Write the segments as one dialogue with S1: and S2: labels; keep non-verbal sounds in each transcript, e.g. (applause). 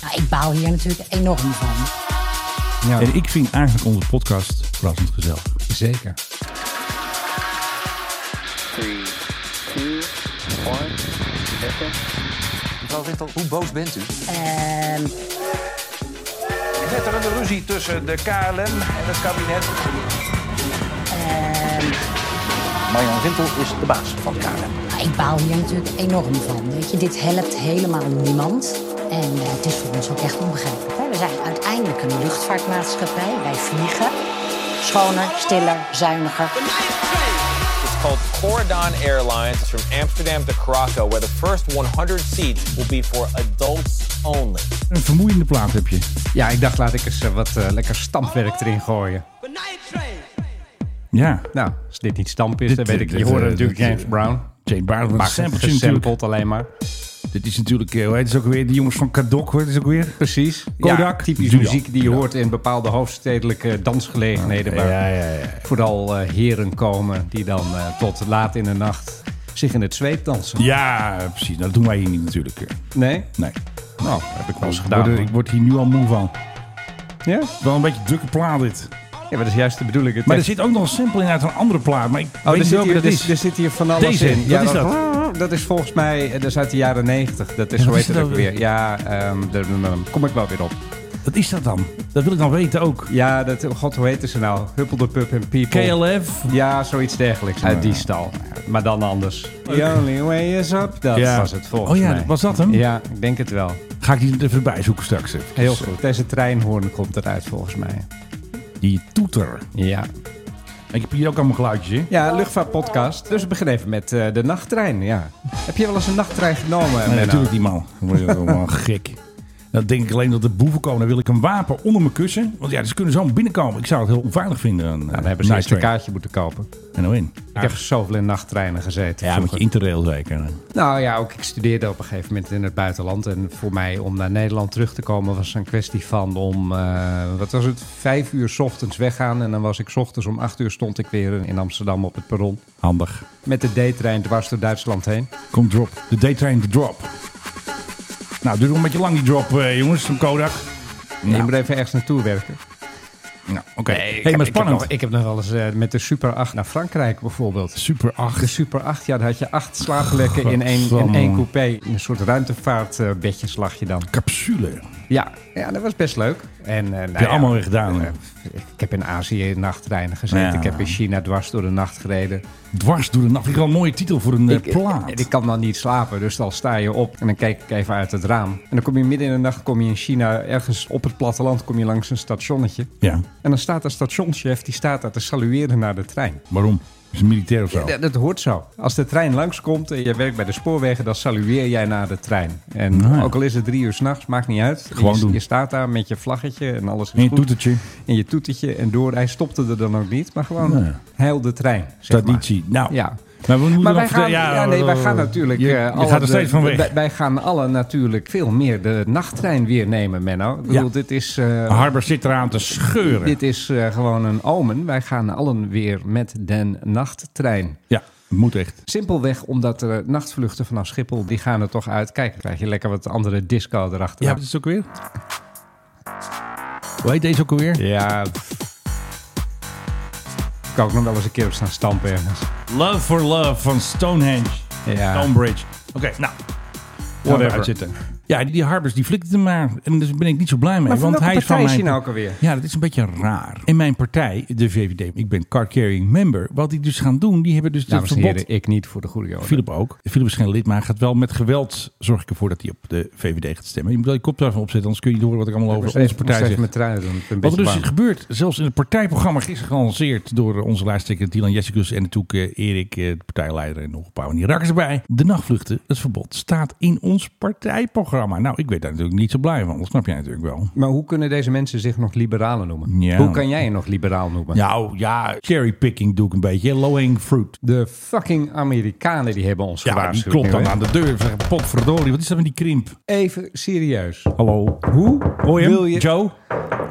S1: Nou, ik baal hier natuurlijk enorm van.
S2: Ja,
S3: En ik vind eigenlijk onze podcast verrassend gezellig.
S2: zeker.
S4: three, two, one, listen.
S5: Mevrouw Wichtel, hoe boos bent u?
S1: Ehm,
S6: Knetterende ruzie tussen de KLM en het kabinet.
S1: ehm,
S5: Marjan Wichtel is de baas van de KLM.
S1: nou, ik baal hier natuurlijk enorm van. Weet je, dit helpt helemaal niemand. En eh, het is voor ons ook echt onbegrijpelijk. Hè? We zijn uiteindelijk een luchtvaartmaatschappij. Wij vliegen. Schoner, stiller, zuiniger.
S7: It's called Corridon Airlines. It's from Amsterdam to Krakow, where the first 100 seats will be for adults only.
S3: Een vermoeiende plaat heb je.
S2: Ja, ik dacht laat ik eens eh, wat eh, lekker stampwerk erin gooien.
S3: Ja.
S2: Nou, als dit eh, niet stamp is,
S3: Dit-
S2: dan weet ik.
S3: dit-
S2: Je hoorde
S3: dit-
S2: natuurlijk
S3: dit- eh,
S2: James Brown.
S3: Jane Brown van
S2: Maar
S3: Sampletje natuurlijk.
S2: gesampled alleen maar.
S3: Dit is natuurlijk, eh, hoe heet het ook weer? Die jongens van Kadok, hoor, het is ook weer.
S2: Precies.
S3: Kodak.
S2: Ja, typisch
S3: Doe
S2: muziek
S3: dat.
S2: die je hoort in bepaalde hoofdstedelijke dansgelegenheden. Waar vooral eh, heren komen die dan eh, tot laat in de nacht zich in het zweet dansen.
S3: Ja, precies. Nou, dat doen wij hier niet natuurlijk. eh.
S2: Nee?
S3: Nee.
S2: Nou, heb ik wel eens
S3: Ik word,
S2: gedaan.
S3: er- ik word hier nu al moe van.
S2: Ja?
S3: Wel een beetje drukke plaat dit.
S2: ja, maar dat is juist de bedoeling. Het
S3: Maar er
S2: heeft-
S3: zit ook nog een sample in uit een andere plaat. Maar ik
S2: Oh, er
S3: weet niet
S2: zit,
S3: welke
S2: hier,
S3: dat
S2: dat
S3: is.
S2: is, er zit hier van alles
S3: Deze,
S2: in.
S3: wat is
S2: dat? is volgens mij, eh, dat is uit de jaren negentig. Dat is,
S3: Ja,
S2: hoe
S3: wat
S2: heet
S3: is
S2: het
S3: dat
S2: ook
S3: weer?
S2: weer? Ja, ehm, de- de- de- kom ik wel weer op.
S3: Wat is dat dan? Dat wil ik dan weten ook. Oh
S2: Ja, dat, oh god, hoe heette ze nou? Huppel de Pup en People.
S3: KLF.
S2: Ja, zoiets dergelijks. Uit die stal. Maar dan anders. The only way is up. Dat
S3: Ja.
S2: was het volgens
S3: Oh ja,
S2: mij.
S3: was dat hem?
S2: Ja, ik denk het wel.
S3: Ga ik die even bijzoeken straks. Even.
S2: Heel goed. Deze treinhoorn komt eruit volgens mij.
S3: Die toeter.
S2: Ja.
S3: Ik heb hier ook allemaal geluidjes in.
S2: Ja, luchtvaartpodcast. Dus we beginnen even met eh, de nachttrein. Ja. Heb je wel eens een nachttrein genomen?
S3: Nee,
S2: Menno?
S3: natuurlijk niet, man. Dan word je
S2: (laughs)
S3: allemaal gek. Dan denk ik alleen dat de boeven komen. Dan wil ik een wapen onder mijn kussen. Want ja, ze kunnen zo binnenkomen. Ik zou het heel onveilig vinden. Een,
S2: Nou, dan hebben ze eerst een
S3: elkaar.
S2: kaartje moeten kopen.
S3: En nou in.
S2: Ik heb zoveel in nachttreinen gezeten.
S3: Ja, met
S2: vroeger.
S3: je interrail zeker.
S2: Nou ja, ook ik studeerde op een gegeven moment in het buitenland. En voor mij om naar Nederland terug te komen was een kwestie van om, eh, wat was het, vijf uur 's ochtends weggaan. En dan was ik 's ochtends om acht uur stond ik weer in Amsterdam op het perron.
S3: Handig.
S2: Met de D-trein dwars door Duitsland heen.
S3: Kom drop. De daytrain de drop. Nou, duurt nog een beetje lang die drop, eh, jongens. Van Kodak.
S2: Je moet
S3: Nou,
S2: even ergens naartoe werken.
S3: nou, oké.
S2: ik,
S3: hey,
S2: heb,
S3: maar
S2: ik, heb
S3: spannend.
S2: nog, ik heb nog wel eens eh, met de Super 8 naar Frankrijk bijvoorbeeld.
S3: Super 8.
S2: De Super 8, ja, daar had je acht slaapplekken in één, in
S3: Godsamme.
S2: één coupé. In een soort ruimtevaartbedjes lag je dan.
S3: Capsule.
S2: Ja, ja, dat was best leuk. En, eh, nou
S3: Heb je
S2: ja, eh,
S3: allemaal weer gedaan. hè?
S2: Ik heb in Azië in nachttreinen gezeten.
S3: Ja.
S2: Ik heb in China dwars door de nacht gereden.
S3: Dwars door de nacht. Ik had een mooie titel voor een eh,
S2: ik,
S3: plaat.
S2: ik, ik kan dan niet slapen, dus dan sta je op en dan kijk ik even uit het raam. En dan kom je midden in de nacht kom je in China, ergens op het platteland, kom je langs een stationnetje.
S3: Ja,
S2: En dan staat de stationschef, die staat daar te salueren naar de trein.
S3: waarom? Is een militair of zo?
S2: Dat, dat hoort zo. Als de trein langskomt en je werkt bij de spoorwegen, dan salueer jij naar de trein. En
S3: Nou ja.
S2: ook al is het drie uur s'nachts, maakt niet uit.
S3: Gewoon
S2: je,
S3: doen.
S2: je staat daar met je vlaggetje en alles is
S3: En je
S2: goed.
S3: toetertje.
S2: En je toetertje en door. Hij stopte er dan ook niet, maar gewoon
S3: Nee.
S2: heil de trein. Zeg maar.
S3: Traditie. Nou,
S2: Ja.
S3: Maar, we moeten
S2: Maar
S3: nog
S2: wij gaan,
S3: vertellen-
S2: ja,
S3: ja,
S2: nee, wij
S3: eh,
S2: gaan natuurlijk...
S3: Je,
S2: eh,
S3: je
S2: alle
S3: gaat
S2: de-
S3: er steeds van weg.
S2: Wij, wij gaan alle natuurlijk veel meer de nachttrein weer nemen, Menno. Ik bedoel, dit is, eh,
S3: Harber zit eraan te scheuren.
S2: dit is eh, gewoon een omen. Wij gaan allen weer met den nachttrein.
S3: Ja, moet echt.
S2: Simpelweg omdat de nachtvluchten vanaf Schiphol, die gaan er toch uit. Kijk, dan krijg je lekker wat andere disco erachter.
S3: Ja, wat is het ook weer? Hoe heet deze ook alweer?
S2: ja. Ik kan ook nog wel eens een keer op staan stampen ergens.
S3: Love for Love van Stonehenge.
S2: Ja.
S3: Stonebridge. Oké, nou.
S2: Whatever.
S3: Zitten. Ja, die, die Harbers die flikt hem maar. En daar ben ik niet zo blij mee.
S2: Maar van
S3: want
S2: welke
S3: hij is van
S2: partij is
S3: mijn...
S2: hij nou ook alweer?
S3: Ja, dat is een beetje raar. In mijn partij, de VVD, ik ben card carrying member. Wat die dus gaan doen, die hebben dus dat
S2: Dames en
S3: verbod.
S2: heren, ik niet voor de goede orde.
S3: Philip ook. Philip is geen lid, maar hij gaat wel met geweld zorg ik ervoor dat hij op de VVD gaat stemmen. Je moet wel je koptelefoon opzetten, anders kun je niet horen wat ik allemaal
S2: Ik moest
S3: over
S2: even-
S3: onze partij
S2: moest even
S3: zeg.
S2: mijn trui doen. Ik ben een
S3: Wat er
S2: beetje
S3: dus
S2: bang.
S3: gebeurt, zelfs in het partijprogramma gisteren gelanceerd door eh, onze lijsttrekker Dylan Jessicus en natuurlijk eh, Erik, eh, de partijleider en nog een paar van die rakkers erbij. De nachtvluchten, het verbod, staat in ons partijprogramma. Nou, ik weet daar natuurlijk niet zo blij van, dat snap jij natuurlijk wel.
S2: Maar hoe kunnen deze mensen zich nog liberalen noemen?
S3: Ja.
S2: Hoe kan jij je nog liberaal noemen?
S3: Nou ja, cherrypicking doe ik een beetje, low-hanging fruit.
S2: De fucking Amerikanen die hebben ons
S3: Ja, die
S2: gewaarschuwd.
S3: klopt
S2: nu,
S3: dan
S2: hè?
S3: aan de deur. Zeg, potverdorie, wat is dat met die krimp?
S2: Even serieus.
S3: Hallo,
S2: Hoe
S3: hoor je hem,
S2: wil je,
S3: Joe?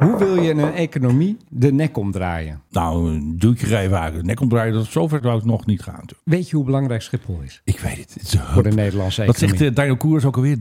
S2: hoe wil je een economie de nek omdraaien?
S3: nou een duwtje geven, haar de nek omdraaien. Dat zover zou het nog niet gaan natuurlijk.
S2: Weet je hoe belangrijk Schiphol is?
S3: Ik weet het. Het is een
S2: Voor de
S3: hub.
S2: Nederlandse
S3: Dat
S2: economie.
S3: zegt eh, Daniel Koers ook alweer.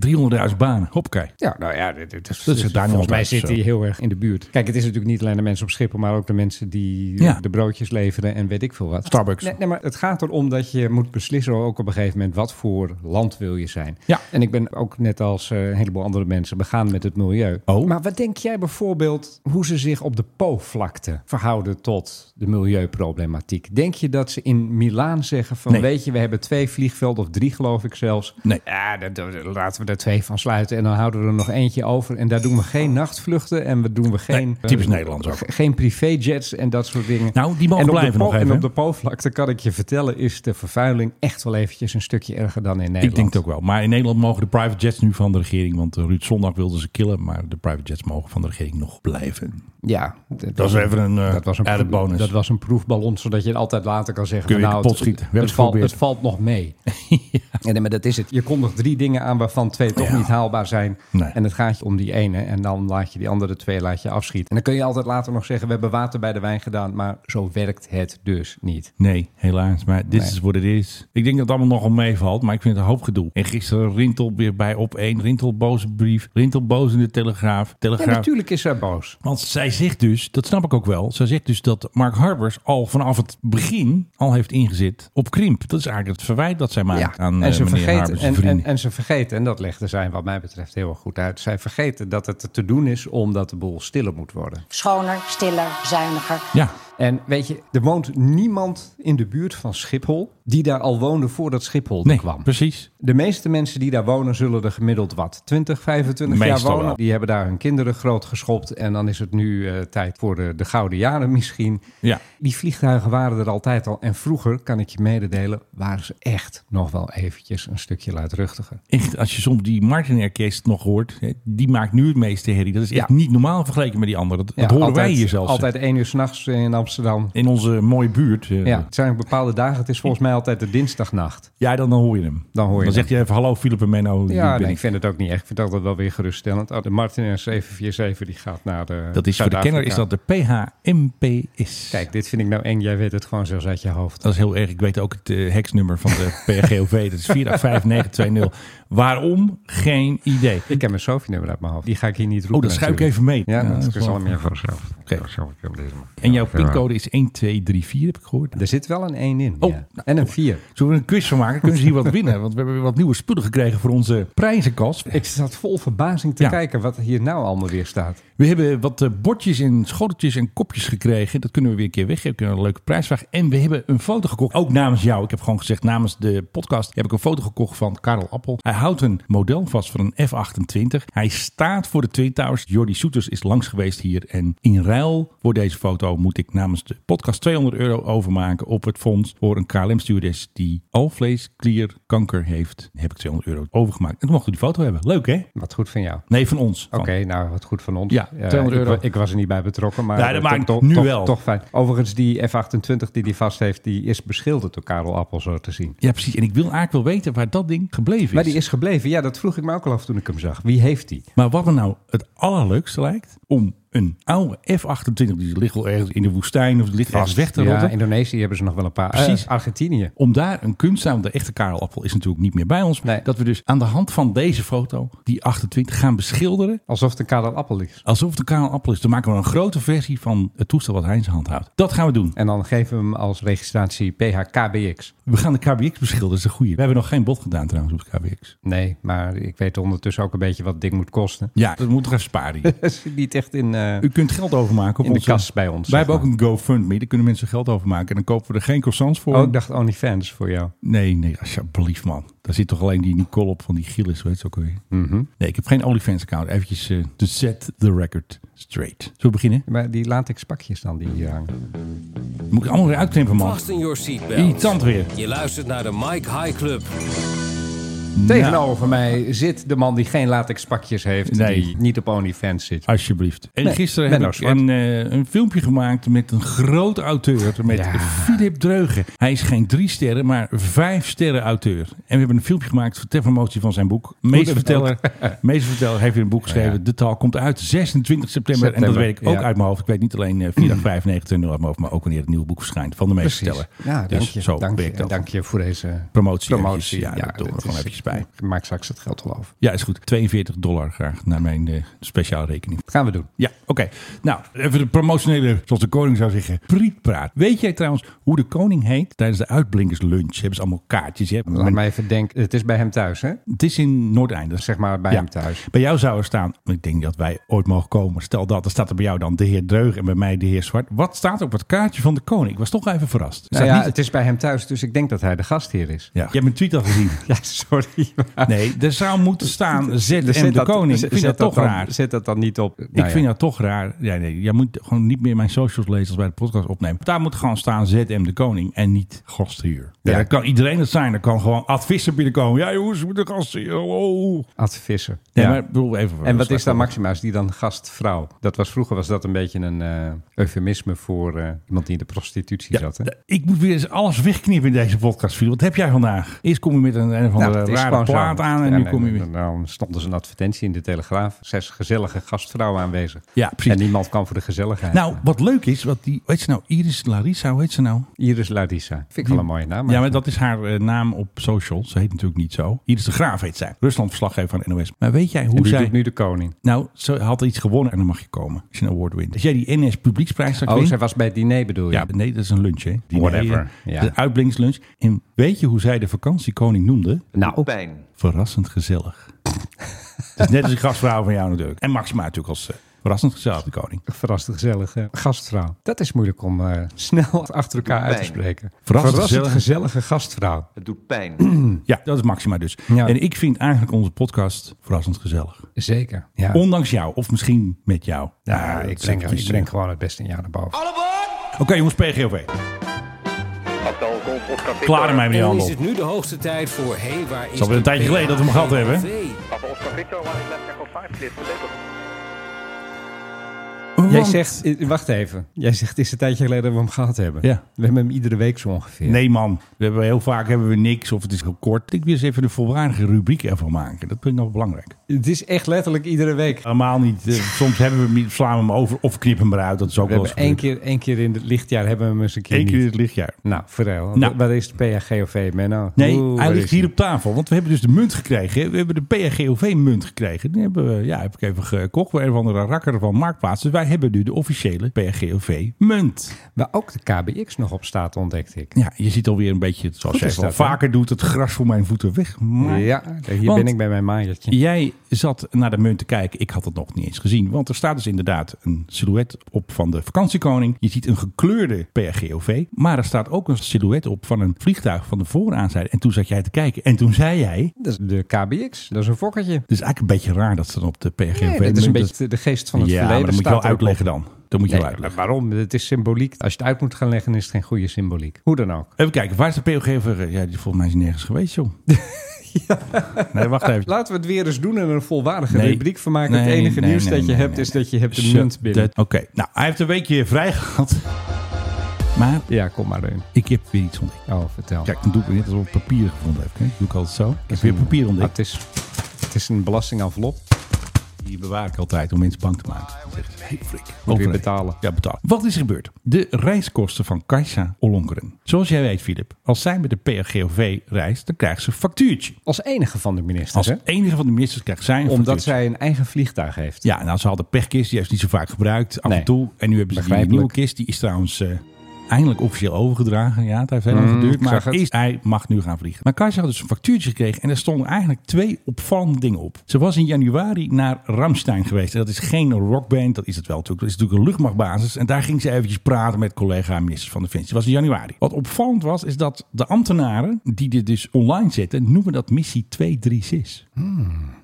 S3: 300.000 banen. Hoppakee.
S2: Ja, nou ja, dit, dit is,
S3: Dat is het daar
S2: volgens
S3: nog
S2: mij
S3: uit,
S2: zit
S3: zo.
S2: hij heel erg in de buurt. Kijk, het is natuurlijk niet alleen de mensen op Schiphol, maar ook de mensen die
S3: Ja.
S2: eh, de broodjes leveren en weet ik veel wat.
S3: Starbucks.
S2: Nee, nee, maar het gaat erom dat je moet beslissen ook op een gegeven moment wat voor land wil je zijn.
S3: Ja.
S2: En ik ben ook net als eh, een heleboel andere mensen begaan met het milieu.
S3: Oh.
S2: Maar wat denk jij bijvoorbeeld hoe ze zich op de Po-vlakte verhouden tot de milieuproblematiek? Denk je dat ze in Milaan zeggen van
S3: Nee.
S2: weet je, we hebben twee vliegvelden of drie geloof ik zelfs.
S3: Nee.
S2: Ja, dat- dat- laten we er twee van sluiten en dan houden we er nog eentje over. En daar doen we geen nachtvluchten en we doen we geen...
S3: typisch
S2: eh,
S3: Nederlands ook.
S2: ge- (laughs) Geen privéjets en dat soort dingen.
S3: Nou, die mogen
S2: en op de
S3: blijven
S2: po-
S3: nog even,
S2: En
S3: hè?
S2: op de poolvlakte kan ik je vertellen, is de vervuiling echt wel eventjes een stukje erger dan in Nederland.
S3: Ik denk het ook wel. Maar in Nederland mogen de private jets nu van de regering. Want eh, Ruud Zondag wilde ze killen. Maar de private jets mogen van de regering nog blijven.
S2: Ja. d-
S3: Dat is even een, eh, added
S2: proef-
S3: bonus.
S2: Dat was een proefballon, zodat je het altijd later kan zeggen.
S3: Kun je
S2: van, nou,
S3: kapot
S2: het-
S3: schieten. We
S2: Het,
S3: hebben het
S2: valt- het valt nog
S3: geprobeerd. (laughs)
S2: mee. ja. nee, maar dat is het. Je kondigt drie dingen aan waarvan twee toch
S3: Ja.
S2: niet haalbaar zijn.
S3: Nee.
S2: En het gaat je om die ene. En dan laat je die andere twee laat je afschieten. En dan kun je altijd later nog zeggen, we hebben water bij de wijn gedaan. Maar zo werkt het dus niet.
S3: Nee, helaas. Maar dit
S2: Nee.
S3: is wat het is. Ik denk dat het allemaal nogal meevalt, maar ik vind het een hoop gedoe. En gisteren Rintel weer bij op één. Rintel boze brief. Rintel boos in de Telegraaf.
S2: Ja,
S3: Telegraaf.
S2: natuurlijk is zij boos.
S3: Want zij zegt dus, dat snap ik ook wel, zij zegt dus dat Mark Harbers al vanaf het begin al heeft ingezet op krimp. Dat is eigenlijk het verwijt dat zij maakt aan
S2: en
S3: eh,
S2: ze
S3: meneer
S2: vergeten,
S3: Harbers en
S2: en,
S3: vrienden.
S2: en, en ze vergeten, en dat legde zij wat mij betreft heel erg goed uit. Zij vergeten dat het te doen is omdat de boel stiller moet worden.
S1: Schoner, stiller, zuiniger.
S3: ja,
S2: En weet je, er woont niemand in de buurt van Schiphol die daar al woonde voordat Schiphol er
S3: nee,
S2: kwam.
S3: precies.
S2: De meeste mensen die daar wonen zullen er gemiddeld wat 20, 25
S3: Meestal
S2: jaar wonen.
S3: wel.
S2: Die hebben daar hun kinderen grootgeschopt en dan is het nu eh, tijd voor de, de gouden jaren misschien.
S3: Ja.
S2: Die vliegtuigen waren er altijd al en vroeger, kan ik je mededelen, waren ze echt nog wel eventjes een stukje luidruchtiger.
S3: Echt, als je soms die Martin Orkest nog hoort, hè, die maakt nu het meeste herrie. Dat is echt
S2: Ja.
S3: niet normaal vergeleken met die anderen. Dat, dat
S2: Ja,
S3: horen wij
S2: altijd-
S3: hier zelfs.
S2: Altijd één uur s'nachts eh, in Amsterdam.
S3: In onze mooie buurt. eh,
S2: Ja, het zijn bepaalde dagen. Het is volgens mij altijd de dinsdagnacht.
S3: Ja, dan, dan hoor je hem.
S2: Dan hoor je
S3: Dan
S2: hem.
S3: zegt hij even, hallo Philip en Menno.
S2: Ja,
S3: Ja,
S2: nee,
S3: ben
S2: ik
S3: ik.
S2: vind het ook niet echt. Ik vind dat wel weer geruststellend. Oh, de Martin 747 die gaat naar de
S3: Dat is voor de
S2: Zuid-Afrika.
S3: kenner is dat de PHMPS.
S2: Kijk, dit vind ik nou eng. Jij weet het gewoon zelfs uit je hoofd.
S3: Dat is heel erg. Ik weet ook het eh, heksnummer van (laughs) de PRGOV. Dat is 485920. Waarom? Geen idee.
S2: Ik ken mijn Sophie-nummer uit mijn hoofd. Die ga ik hier niet roepen.
S3: Oh, dat schuif ik
S2: natuurlijk.
S3: even mee.
S2: Ja,
S3: dat
S2: dat
S3: is
S2: is
S3: wel-
S2: allemaal meer vanzelf.
S3: Oké.
S2: Zelf, ik heb deze maar.
S3: En jouw pincode is 1234, heb ik gehoord.
S2: Er zit wel een 1 in.
S3: Oh,
S2: ja. En een 4.
S3: Zullen we een quiz van maken? Kunnen ze hier wat winnen? Want we hebben weer wat nieuwe spullen gekregen voor onze prijzenkast.
S2: Ik zat vol verbazing te
S3: Ja.
S2: kijken wat hier nou allemaal weer staat.
S3: We hebben wat eh, bordjes en schoteltjes en kopjes gekregen. Dat kunnen we weer een keer weggeven. Kunnen we een leuke prijsvraag. En we hebben een foto gekocht. Ook namens jou. Ik heb gewoon gezegd namens de podcast. Heb ik een foto gekocht van Karel Appel. Hij houdt een model vast van een F-28. Hij staat voor de Twin Towers. Jordi Soeters is langs geweest hier. En in ruil voor deze foto moet ik namens de podcast 200 euro overmaken op het fonds voor een KLM-stewardess die alvleesklierkanker heeft. Daar heb ik 200 euro overgemaakt. En toen mochten we die foto hebben. Leuk hè?
S2: Wat goed van jou.
S3: Nee, van ons. Van-
S2: Oké, nou wat goed van ons.
S3: Ja,
S2: Eh,
S3: 200
S2: ik wa-
S3: euro.
S2: Ik, was er niet bij betrokken, maar
S3: Ja, dat
S2: eh,
S3: maakt
S2: toch-
S3: nu
S2: toch-
S3: wel.
S2: toch fijn. Overigens, die F28 die die vast heeft, die is beschilderd door Karel Appel, zo te zien.
S3: Ja, precies. En ik wil eigenlijk wel weten waar dat ding gebleven is.
S2: Maar die is gebleven. Ja, dat vroeg ik me ook al af toen ik hem zag. Wie heeft die?
S3: Maar wat me nou het allerleukste lijkt, om een oude F-28, die ligt wel ergens in de woestijn of die ligt ergens weg te
S2: ja,
S3: rotten.
S2: Indonesië hebben ze nog wel een paar.
S3: Precies.
S2: Eh, Argentinië.
S3: Om daar een kunst aan, want de echte Karelappel is natuurlijk niet meer bij ons.
S2: Nee.
S3: Dat we dus aan de hand van deze foto, die 28, gaan beschilderen.
S2: Alsof het een Karel Appel is.
S3: Alsof het een Karelappel is. Dan maken we een grote versie van het toestel wat hij in zijn hand houdt. Dat gaan we doen.
S2: En dan geven we hem als registratie PHKBX.
S3: We gaan de KBX beschilderen, dat is de goeie. We hebben nog geen bod gedaan trouwens op de KBX.
S2: Nee, maar ik weet ondertussen ook een beetje wat het ding moet kosten. (laughs)
S3: Ja, dat moet toch even sparen. hier.
S2: Dat zit niet echt in... eh,
S3: U kunt geld overmaken op
S2: In de
S3: onze...
S2: kas bij ons,
S3: Wij
S2: zeg
S3: hebben ook een GoFundMe, daar kunnen mensen geld overmaken. En dan kopen we er geen croissants voor.
S2: Oh, ik dacht OnlyFans voor jou.
S3: Nee, nee, alsjeblieft man. Daar zit toch alleen die Nicole op van die Gillis, weet je ook alweer.
S2: Mhm.
S3: Nee, ik heb geen OnlyFans account. Eventjes eh, to set the record straight. Zullen we beginnen?
S2: Maar die latex pakjes dan die hier hangen.
S3: Moet ik allemaal weer uitknippen man.
S8: Fasten your seatbelt.
S3: Irritant weer.
S8: Je luistert naar de Mike High Club.
S3: Nou.
S2: Tegenover mij zit de man die geen latexpakjes heeft.
S3: Nee. Ah,
S2: Die niet op OnlyFans zit.
S3: Alsjeblieft. En
S2: Nee,
S3: gisteren heb
S2: Menno
S3: ik
S2: Zwart.
S3: een, eh, een filmpje gemaakt met een groot auteur. Met
S2: Ja.
S3: Philip Dreugen. Hij is geen drie sterren, maar vijf sterren auteur. En we hebben een filmpje gemaakt ter promotie van zijn boek. (laughs) Meesterverteller. Meesterverteller heeft weer een boek geschreven. De taal komt uit 26 september. En dat
S2: Oh, September,
S3: weet ik
S2: ja.
S3: ook uit mijn hoofd. Ik weet niet alleen eh,
S2: (clears throat)
S3: 4 dag 5, 9, uit mijn hoofd. Maar ook wanneer het nieuwe boek verschijnt van de meesterverteller.
S2: Ja, dank
S3: dus
S2: je.
S3: zo
S2: dank, je
S3: werkt dat.
S2: dank je voor deze
S3: Promotie.
S2: promotie.
S3: eventjes. Ja, dat doen we
S2: dit
S3: gewoon
S2: is-
S3: eventjes bij.
S2: Ik maak straks het geld wel over.
S3: Ja, is goed. 42 dollar graag naar mijn eh, speciale rekening.
S2: Dat gaan we doen.
S3: Ja, oké. Nou, even de promotionele, zoals de koning zou zeggen, prietpraat. Weet jij trouwens hoe de koning heet tijdens de uitblinkerslunch? Hebben ze allemaal kaartjes. Hè?
S2: Laat mij even denken. Het is bij hem thuis, hè?
S3: Het is in Noordeinde.
S2: Zeg maar bij hem thuis.
S3: Bij jou zou er staan, ik denk dat wij ooit mogen komen. Stel dat, dan staat er bij jou dan de heer Dreug en bij mij de heer Zwart. Wat staat er op het kaartje van de koning? Ik was toch even verrast. Staat
S2: Nou ja,
S3: niet-
S2: het is bij hem thuis, dus ik denk dat hij de gastheer is.
S3: ja. Je hebt mijn tweet al gezien.
S2: (laughs) Ja, sorry. (laughs) maar-
S3: Nee, er zou moeten
S2: (laughs)
S3: staan
S2: Dus
S3: ZM de
S2: dat-
S3: koning.
S2: zet
S3: Ik vind dat toch
S2: dan-
S3: raar.
S2: Zet dat dan niet op. Nou
S3: ik vind dat toch raar. Ja, nee, jij moet gewoon niet meer mijn socials lezen als wij de podcast opnemen. Daar moet gewoon staan ZM de Koning en niet gastheer. Ja,
S2: Ja.
S3: dat kan iedereen het zijn. Er kan gewoon Ad Visser binnenkomen. Ja jongens, we moeten gastheer. Hallo. Nee,
S2: Advissen.
S3: maar ik bedoel even...
S2: En wat is dan Maxima? Is die dan gastvrouw? Dat was, vroeger was dat een beetje een eh, eufemisme voor eh, iemand die in de prostitutie
S3: Ja,
S2: zat. Hè?
S3: d- ik moet weer eens alles wegknippen in deze podcast. Phil. Wat heb jij vandaag? Eerst kom je met een, een of
S2: Nou,
S3: andere
S2: het is
S3: rare
S2: gewoon zo.
S3: plaat aan en
S2: Ja,
S3: nu
S2: nee,
S3: kom je weer...
S2: Dan, dan stond dus een advertentie in de Telegraaf. Zes gezellige gastvrouwen aanwezig.
S3: Ja, precies.
S2: En niemand kwam voor de gezelligheid.
S3: Nou, wat leuk is, wat die, weet ze nou, Iris Larissa, hoe heet ze nou?
S2: Iris Larissa. Vind ik wel een mooie naam.
S3: Ja, maar dat is haar eh, naam op social. Ze heet natuurlijk niet zo. Iris de Graaf heet zij. Rusland verslaggever van NOS. Maar weet jij hoe
S2: Hoe
S3: zij...
S2: doet nu de koning?
S3: Nou, ze had iets gewonnen en dan mag je komen. Als je een award wint. Als jij die NS Publieksprijs straks
S2: Oh,
S3: wint-
S2: zij was bij het diner bedoel je?
S3: Ja, nee, dat is een lunch, hè? Die
S2: Whatever,
S3: Nee,
S2: ja.
S3: De uitblinkslunch. En weet je hoe zij de vakantiekoning noemde?
S2: Nou,
S6: Pijn.
S3: Verrassend
S2: (laughs)
S3: gezellig. Het is net als een gastvrouw van jou natuurlijk. En Maxima natuurlijk als eh, verrassend gezellig de koning.
S2: verrassend gezellige gastvrouw. Dat is moeilijk om eh, snel (laughs) achter elkaar uit te
S6: Pijn.
S2: spreken.
S3: Verrassend
S2: gezellige,
S3: gezellig.
S2: gastvrouw.
S6: Het doet pijn.
S3: Ja, dat is Maxima dus.
S2: Ja.
S3: En ik vind eigenlijk onze podcast verrassend gezellig.
S2: Zeker. Ja.
S3: Ondanks jou, of misschien met jou. Ah,
S2: ja,
S3: dat
S2: ik,
S3: is
S2: breng,
S3: even
S2: ik breng gewoon het beste in jou naar boven.
S3: Oké jongens, PGOV. Klaar mij meneer
S8: Dan is
S3: Handel.
S8: het nu de hoogste tijd voor... Hey, waar is
S3: is alweer een
S8: de
S3: tijdje geleden dat we hem gehad hebben.
S8: PRV?
S2: Jij
S3: Want-
S2: zegt, eh, wacht even. Jij zegt, het is een tijdje geleden dat we hem gehad hebben.
S3: Ja.
S2: We hebben hem iedere week zo ongeveer.
S3: Nee man, we hebben heel vaak hebben we niks of het is heel kort. Ik wil eens even de volwaardige rubriek ervan maken. Dat vind ik nog belangrijk.
S2: Het is echt letterlijk iedere week.
S3: Normaal
S2: (laughs)
S3: niet. eh, soms hebben we hem niet, slaan we hem over of knippen hem eruit. Dat is ook
S2: We
S3: wel eens
S2: hebben één
S3: gebeurd.
S2: keer, één keer in het lichtjaar hebben we hem eens een keer
S3: Eén keer in
S2: niet.
S3: het lichtjaar.
S2: Nou, vertel.
S3: Nou.
S2: Waar is de PHGOV, E, Menno?
S3: Nee,
S2: Oeh,
S3: hij
S2: waar
S3: ligt
S2: is die?
S3: hier op tafel. Want we hebben dus de munt gekregen. hè. We hebben de PRGOV-munt gekregen. Die hebben we, ja, heb ik even gekocht. Bij een van de rakker van Marktplaats. Dus wij hebben nu de officiële PRGOV-munt.
S2: Waar ook de KBX nog op staat, ontdekte ik.
S3: Ja, je ziet alweer een beetje, zoals
S2: Goed
S3: jij
S2: is
S3: het al
S2: dat, hè?
S3: vaker doet, het gras voor mijn voeten weg. Maar
S2: Ja, hier
S3: Want-
S2: ben ik bij mijn maaiertje.
S3: Jij zat naar de munt te kijken. Ik had het nog niet eens gezien. Want er staat dus inderdaad een silhouet op van de vakantiekoning. Je ziet een gekleurde PRGOV. Maar er staat ook een silhouet op van een vliegtuig van de vooraanzijde. En toen zat jij te kijken. En toen zei jij...
S2: Dat is de KBX, dat is een fokkertje.
S3: Het is eigenlijk een beetje raar dat ze dan op de PRGOV...
S2: Nee, dat is een beetje de geest van het
S3: dus- ja,
S2: verleden.
S3: maar dat moet je
S2: staat
S3: wel
S2: erop.
S3: uitleggen dan. Dat moet je
S2: Nee,
S3: wel uitleggen.
S2: waarom? Het is symboliek. Als je het uit moet gaan leggen, is het geen goede symboliek. Hoe dan ook.
S3: Even kijken, waar is de PRGOV? Ja, die volgens mij is nergens
S2: (laughs)
S3: geweest, joh. Nee, wacht even.
S2: Laten we het weer eens doen en er een volwaardige
S3: Nee.
S2: rubriek van maken. het
S3: Nee,
S2: enige
S3: nee,
S2: nieuws
S3: nee,
S2: dat je
S3: nee,
S2: hebt
S3: nee,
S2: is dat je hebt de
S3: Shut
S2: munt binnen.
S3: that- Oké, nou, hij heeft een weekje vrij gehad. Maar
S2: Ja, kom maar in.
S3: ik heb weer iets ontdekt.
S2: Oh, vertel.
S3: Kijk, dan doe ik het net alsof ik papier gevonden heb. hè. Doe ik altijd zo. Ik heb weer papier
S2: Ah,
S3: ontdekt.
S2: het, is, het is een belastingenvelop.
S3: Die bewaar ik altijd om mensen bang te maken. Dan zeggen ze, hey, flik.
S2: Moet weer
S3: Overheen.
S2: betalen.
S3: Ja, betalen. Wat is er gebeurd? De reiskosten van Kajsa Ollongren. Zoals jij weet, Filip, als zij met de PRGOV reist, dan krijgt ze een factuurtje.
S2: Als enige van de ministers,
S3: Als
S2: hè?
S3: enige van de ministers krijgt zij een
S2: Omdat
S3: factuurtje.
S2: zij een eigen vliegtuig heeft.
S3: Ja, nou, ze hadden pechkist. Die heeft ze niet zo vaak gebruikt. Af
S2: Nee.
S3: en toe. En nu hebben ze die
S2: Begrijpelijk.
S3: nieuwe kist. Die is trouwens eh, eindelijk officieel overgedragen. Ja, het heeft heel lang geduurd.
S2: Mm, ik zag
S3: Maar
S2: het.
S3: is, hij mag nu gaan vliegen. Maar Kajsa had dus een factuurtje gekregen. En er stonden eigenlijk twee opvallende dingen op. Ze was in januari naar Ramstein geweest. En dat is geen rockband. Dat is het wel natuurlijk. Dat is natuurlijk een luchtmachtbasis. En daar ging ze eventjes praten met collega minister van Defensie. Dat was in januari. Wat opvallend was, is dat de ambtenaren die dit dus online zetten, noemen dat missie 236.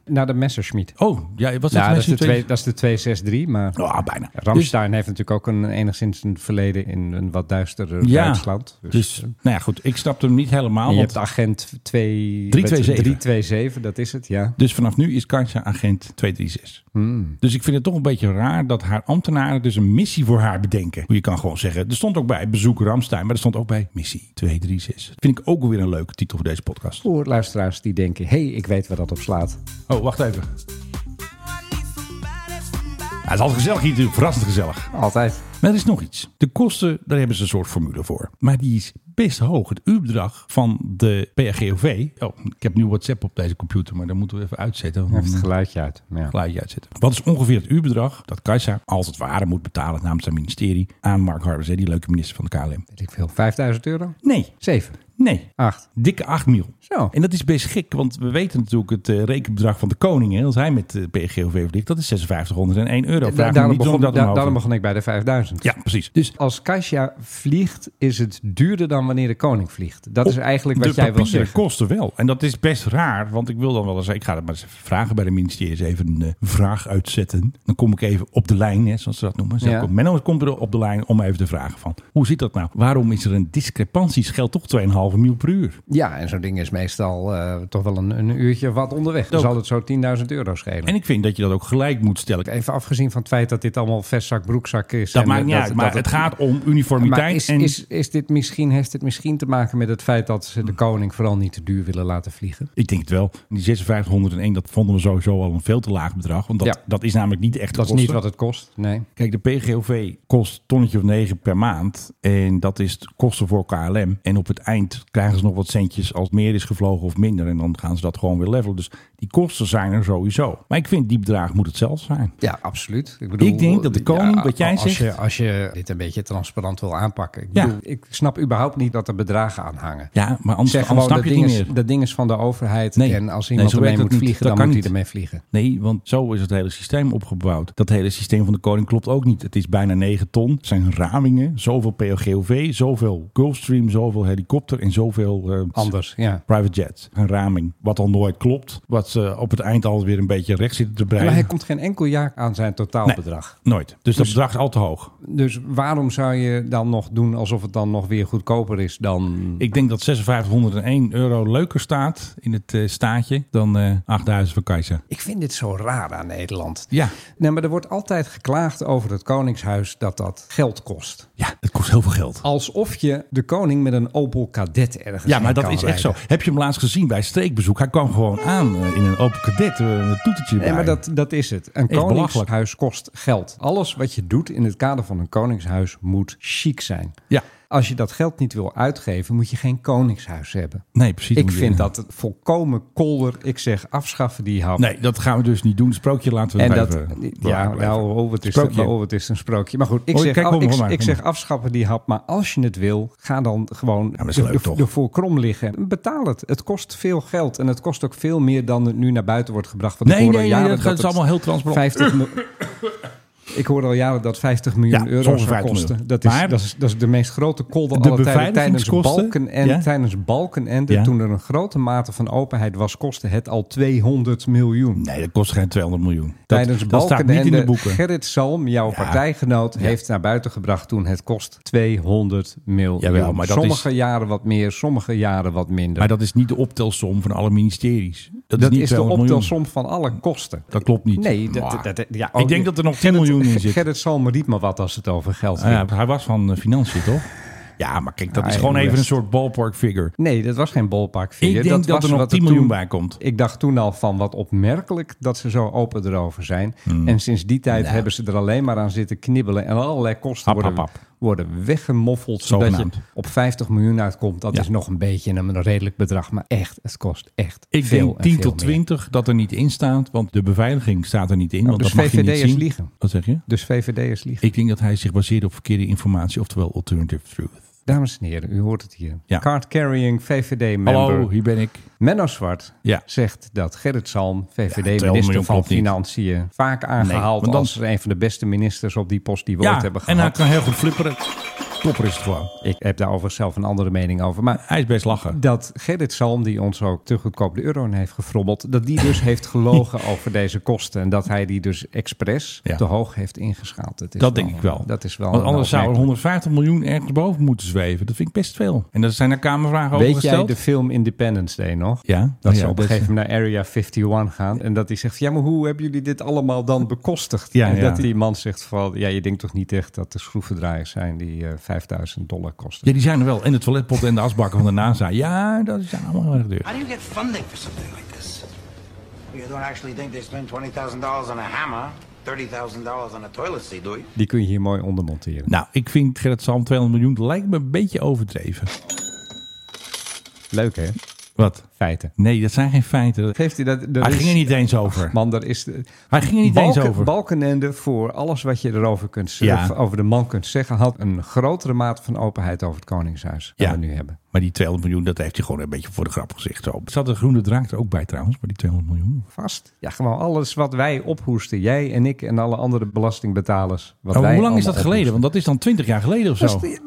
S2: Naar de Messerschmitt.
S3: Oh, ja, wat is
S2: Nou, dat is, de
S3: het?
S2: twee, dat is de 263, maar
S3: Ah, bijna.
S2: Ramstein heeft natuurlijk ook een, enigszins een verleden in een wat duisterder
S3: Ja.
S2: Duitsland.
S3: Dus, dus, nou ja, goed. Ik snapte hem niet helemaal.
S2: En je
S3: want-
S2: hebt agent 2,
S3: 327.
S2: 327, dat is het, ja.
S3: Dus vanaf nu is Kajsa agent 236. Dus ik vind het toch een beetje raar dat haar ambtenaren dus een missie voor haar bedenken. Je kan gewoon zeggen, er stond ook bij bezoek Ramstein, maar er stond ook bij missie 236. Dat vind ik ook weer een leuke titel voor deze podcast.
S2: Voor luisteraars die denken, hé, hey, ik weet waar dat op slaat.
S3: Oh, wacht even. Ja, het is altijd gezellig hier natuurlijk, verrassend gezellig.
S2: Altijd.
S3: Maar er is nog iets. De kosten, daar hebben ze een soort formule voor. Maar die is best hoog. Het uurbedrag van de PRGOV. Oh, ik heb nu WhatsApp op deze computer, maar dat moeten we even uitzetten.
S2: Heeft
S3: want-
S2: het geluidje uit. Ja.
S3: geluidje uitzetten. Wat is ongeveer het uurbedrag dat Kajsa, als het ware, moet betalen namens haar ministerie aan Mark Harbers, hè, die leuke minister van de KLM?
S2: Weet ik veel. 5000 euro?
S3: Nee,
S2: 7.
S3: nee.
S2: 8.
S3: Dikke 8 mil.
S2: Ah. Zo.
S3: En dat is best gek, want we weten natuurlijk het eh, rekenbedrag van de koning. Hè, als hij met eh, de PGOV verlicht, dat is 5601 euro. Vraag me
S2: daarom,
S3: niet
S2: begon,
S3: waarom dat
S2: da-
S3: omhoog
S2: daarom
S3: ging.
S2: begon ik bij de 5000.
S3: Ja, precies. Dus
S2: Als Kasia vliegt, is het duurder dan wanneer de koning vliegt. Dat is eigenlijk wat
S3: de
S2: jij wil
S3: papieren
S2: zeggen.
S3: kosten wel. En dat is best raar, want ik wil dan wel eens... Ik ga dat maar eens even vragen bij de ministeries. Even een eh, vraag uitzetten. Dan kom ik even op de lijn, hè, zoals ze dat noemen. Zo
S2: Ja.
S3: komt- Menno komt er op de lijn om even te vragen van... Hoe zit dat nou? Waarom is er een discrepantie? Scheelt toch 2,5 mil per uur?
S2: Ja, en zo'n ding is meestal eh, toch wel een, een uurtje of wat onderweg. Dan
S3: Ook.
S2: zal het zo 10.000 euro schelen.
S3: En ik vind dat je dat ook gelijk moet stellen. Dat,
S2: Even afgezien van het feit dat dit allemaal vestzak, broekzak is. en
S3: maakt niet uit, maar het, gaat om uniformiteit.
S2: Maar is,
S3: en,
S2: is, is dit misschien, heeft dit misschien te maken met het feit dat ze
S3: Hm.
S2: de koning vooral niet te duur willen laten vliegen?
S3: Ik denk het wel. Die 5601, dat vonden we sowieso al een veel te laag bedrag. Want dat,
S2: Ja.
S3: dat is namelijk niet echt
S2: Dat is niet wat het kost, nee.
S3: Kijk, de PGOV kost een tonnetje of negen per maand. En dat is de kosten voor KLM. En op het eind krijgen ze nog wat centjes als meer is gevlogen of minder. En dan gaan ze dat gewoon weer levelen. Dus die kosten zijn er sowieso. Maar ik vind die bedrag moet het zelf zijn.
S2: Ja, absoluut. Ik,
S3: Ik denk dat de koning, wat jij
S2: als
S3: zegt-
S2: Je, als je dit een beetje transparant wil aanpakken. Ik,
S3: Ja.
S2: bedoel, ik snap überhaupt niet dat er bedragen aan hangen.
S3: Ja, maar anders,
S2: zeg
S3: anders
S2: gewoon,
S3: snap
S2: dat
S3: je het
S2: ding,
S3: niet
S2: is,
S3: meer.
S2: dat ding is van de overheid.
S3: Nee.
S2: En als
S3: Nee,
S2: iemand
S3: zo
S2: ermee
S3: werkt
S2: moet
S3: dat niet.
S2: vliegen,
S3: Dat
S2: dan
S3: kan
S2: moet hij
S3: niet.
S2: ermee vliegen.
S3: Nee, want zo is het hele systeem opgebouwd. Dat hele systeem van de koning klopt ook niet. Het is bijna 9 ton. Het zijn ramingen. Zoveel PLGOV, zoveel Gulfstream, zoveel helikopter en zoveel... eh,
S2: Anders, ja.
S3: Private jet, een raming, wat al nooit klopt. Wat ze op het eind altijd weer een beetje recht zitten te breien.
S2: Maar hij komt geen enkel jaar aan zijn totaalbedrag.
S3: Nooit. Dus, dat bedrag is al te hoog.
S2: Dus waarom zou je dan nog doen alsof het dan nog weer goedkoper is dan...
S3: Ik denk dat 5601 euro leuker staat in het eh, staatje dan eh 8000 van Kaiser.
S2: Ik vind dit zo raar aan Nederland.
S3: Ja.
S2: Nee, maar er wordt altijd geklaagd over het Koningshuis dat dat geld kost.
S3: ja, het kost heel veel geld.
S2: Alsof je de koning met een Opel Kadett ergens
S3: Ja, maar
S2: heen
S3: dat
S2: kan
S3: is echt zo.
S2: rijden.
S3: Heb je hem laatst gezien bij streekbezoek? Hij kwam gewoon aan eh, in een open cadet eh, met toetertje
S2: Nee, maar
S3: erbij.
S2: dat, dat is het. Een
S3: Echt
S2: koningshuis kost geld. Alles wat je doet in het kader van een koningshuis moet chic zijn.
S3: Ja,
S2: Als je dat geld niet wil uitgeven, moet je geen koningshuis hebben.
S3: nee, precies.
S2: Ik
S3: Moet je-
S2: vind dat volkomen kolder. Ik zeg, afschaffen die hap.
S3: Nee, dat gaan we dus niet doen. Het sprookje laten we
S2: En
S3: het
S2: dat,
S3: even-
S2: ja, nou, oh, wat is
S3: eh, Sprookje.
S2: het, oh, wat is een sprookje. Maar goed, ik
S3: Oh,
S2: zeg,
S3: kijk,
S2: af-
S3: kom maar,
S2: ik,
S3: kom maar,
S2: ik
S3: kom
S2: zeg
S3: maar.
S2: afschaffen die hap. Maar als je het wil, ga dan gewoon
S3: dat is
S2: de-
S3: leuk,
S2: de-
S3: toch?
S2: ervoor krom liggen. Betaal het. Het kost veel geld. En het kost ook veel meer dan het nu naar buiten wordt gebracht. Want
S3: Nee,
S2: ik hoor
S3: nee,
S2: al
S3: nee,
S2: jaren
S3: dat gaat-
S2: het
S3: is allemaal heel transparant.
S2: 50 mil- ik hoor al jaren dat 50 miljoen
S3: Ja,
S2: euro
S3: zo'n
S2: zou
S3: 50
S2: kosten.
S3: miljoen.
S2: Dat is,
S3: Maar-
S2: dat, is, dat is de meest grote kolder
S3: De
S2: aller tijden. Tijdens
S3: beveiligingskosten,
S2: Balken en
S3: ja.
S2: tijdens Balken en
S3: Ja.
S2: toen er een grote mate van openheid was, kostte het al 200 miljoen.
S3: Nee, dat kost geen 200 miljoen. Dat-
S2: Tijdens
S3: dat, staat niet in de
S2: Balkenende,
S3: boeken.
S2: Gerrit Salm, jouw partijgenoot, heeft naar buiten gebracht toen het kost 200 miljoen.
S3: Jawel, maar dat
S2: sommige jaren wat meer, sommige jaren wat minder.
S3: Maar dat is niet de optelsom van alle ministeries. Dat,
S2: dat
S3: is
S2: is,
S3: niet
S2: de
S3: 200 miljoen.
S2: optelsom van alle kosten.
S3: Dat klopt niet.
S2: Nee, dat-
S3: Maar
S2: dat- dat- ja,
S3: ik
S2: oh,
S3: denk dat er nog 10 miljoen in zit.
S2: Gerrit Salm riep maar wat als het over geld
S3: Ah
S2: ging.
S3: ja, hij was van eh, financiën, toch? Ja, maar kijk, dat
S2: Ah,
S3: is
S2: ja,
S3: gewoon
S2: de
S3: even
S2: rest.
S3: een soort ballpark figure.
S2: Nee, dat was geen bolpark.
S3: Ik denk dat, er nog 10 miljoen bij komt.
S2: Ik dacht toen al van wat opmerkelijk dat ze zo open erover zijn.
S3: Hmm.
S2: En sinds die tijd hebben ze er alleen maar aan zitten knibbelen. En allerlei kosten
S3: Hap,
S2: worden,
S3: hap, hap.
S2: worden weggemoffeld. Zodat
S3: Zogenaamd.
S2: je op 50 miljoen uitkomt. Dat
S3: Ja.
S2: is nog een beetje een redelijk bedrag. Maar echt, het kost echt
S3: Ik
S2: veel
S3: denk
S2: en
S3: 10
S2: veel
S3: tot
S2: meer.
S3: 20 dat er niet in staat, want de beveiliging staat er niet in. want
S2: dus
S3: dat mag je niet
S2: VVD'ers
S3: zien.
S2: liegen.
S3: Wat zeg je?
S2: Dus VVD'ers liegen.
S3: Ik denk dat hij zich baseert op verkeerde informatie, oftewel alternative truth.
S2: Dames en heren, u hoort het hier.
S3: Ja.
S2: Card-carrying VVD-member.
S3: Hallo, hier ben ik.
S2: Menno Zwart
S3: Ja.
S2: zegt dat Gerrit Salm,
S3: Ja, 200
S2: VVD-minister
S3: miljoen
S2: van
S3: klopt niet.
S2: Financiën, vaak aangehaald
S3: want dan-
S2: als een van de beste ministers op die post die we ooit
S3: Ja,
S2: hebben
S3: en hij
S2: gehad.
S3: kan heel goed flipperen. Topper is het gewoon.
S2: Ik heb daar overigens zelf een andere mening over. Maar
S3: Hij is best lachen.
S2: dat Gerrit Salm, die ons ook te goedkoop de euro in heeft gefrommeld, dat die
S3: (laughs)
S2: dus heeft gelogen over deze kosten. En dat hij die dus expres
S3: Ja.
S2: te hoog heeft ingeschaald. is
S3: Dat denk ik wel.
S2: Dat is wel
S3: Want
S2: een
S3: anders zou er
S2: opmerking.
S3: 150 miljoen ergens boven moeten zweven. Dat vind ik best veel. En daar zijn er kamervragen over
S2: Weet jij
S3: gesteld.
S2: de film Independence Day nog?
S3: Ja.
S2: Dat
S3: Oh
S2: ze
S3: ja,
S2: op een
S3: dat-
S2: gegeven moment naar Area 51 gaan. En dat hij zegt, ja, maar hoe hebben jullie dit allemaal dan bekostigd?
S3: Ja,
S2: en dat
S3: ja.
S2: die man zegt van, ja, je denkt toch niet echt dat de schroevendraaiers zijn die eh, 5000 dollar kosten.
S3: Ja, die zijn er wel. En de toiletpotten en de asbakken van de NASA. Ja, dat is allemaal heel erg duur.
S9: How do you get funding for something like this? You don't actually think they spend $20,000 on a hammer, $30,000 on a toilet seat, do you?
S2: Die kun je hier mooi onder monteren.
S3: Nou, ik vind Gerrit Salm 200 miljoen lijkt me een beetje overdreven.
S2: Leuk, hè?
S3: Wat?
S2: Feiten.
S3: Nee, dat zijn geen feiten. Dat-
S2: Geeft hij dat...
S3: Hij ging er niet eens over.
S2: Man, daar is... de-
S3: Hij ging er niet eens
S2: Balken-
S3: over.
S2: Balkenende voor alles wat je erover kunt
S3: Ja.
S2: zeggen, over de man kunt zeggen, had een grotere mate van openheid over het Koningshuis dan
S3: Ja.
S2: we nu hebben.
S3: Maar die 200 miljoen, dat heeft hij gewoon een beetje voor de grap gezegd. Zo. Zat de groene draak er ook bij trouwens, maar die 200 miljoen. Oh,
S2: Vast. Ja, gewoon alles wat wij ophoesten, jij en ik en alle andere belastingbetalers. Wat
S3: Maar
S2: wij
S3: Oh, hoe lang
S2: allemaal
S3: is dat geleden?
S2: ophoesten.
S3: Want dat is dan 20 jaar geleden of zo.
S2: Dat is-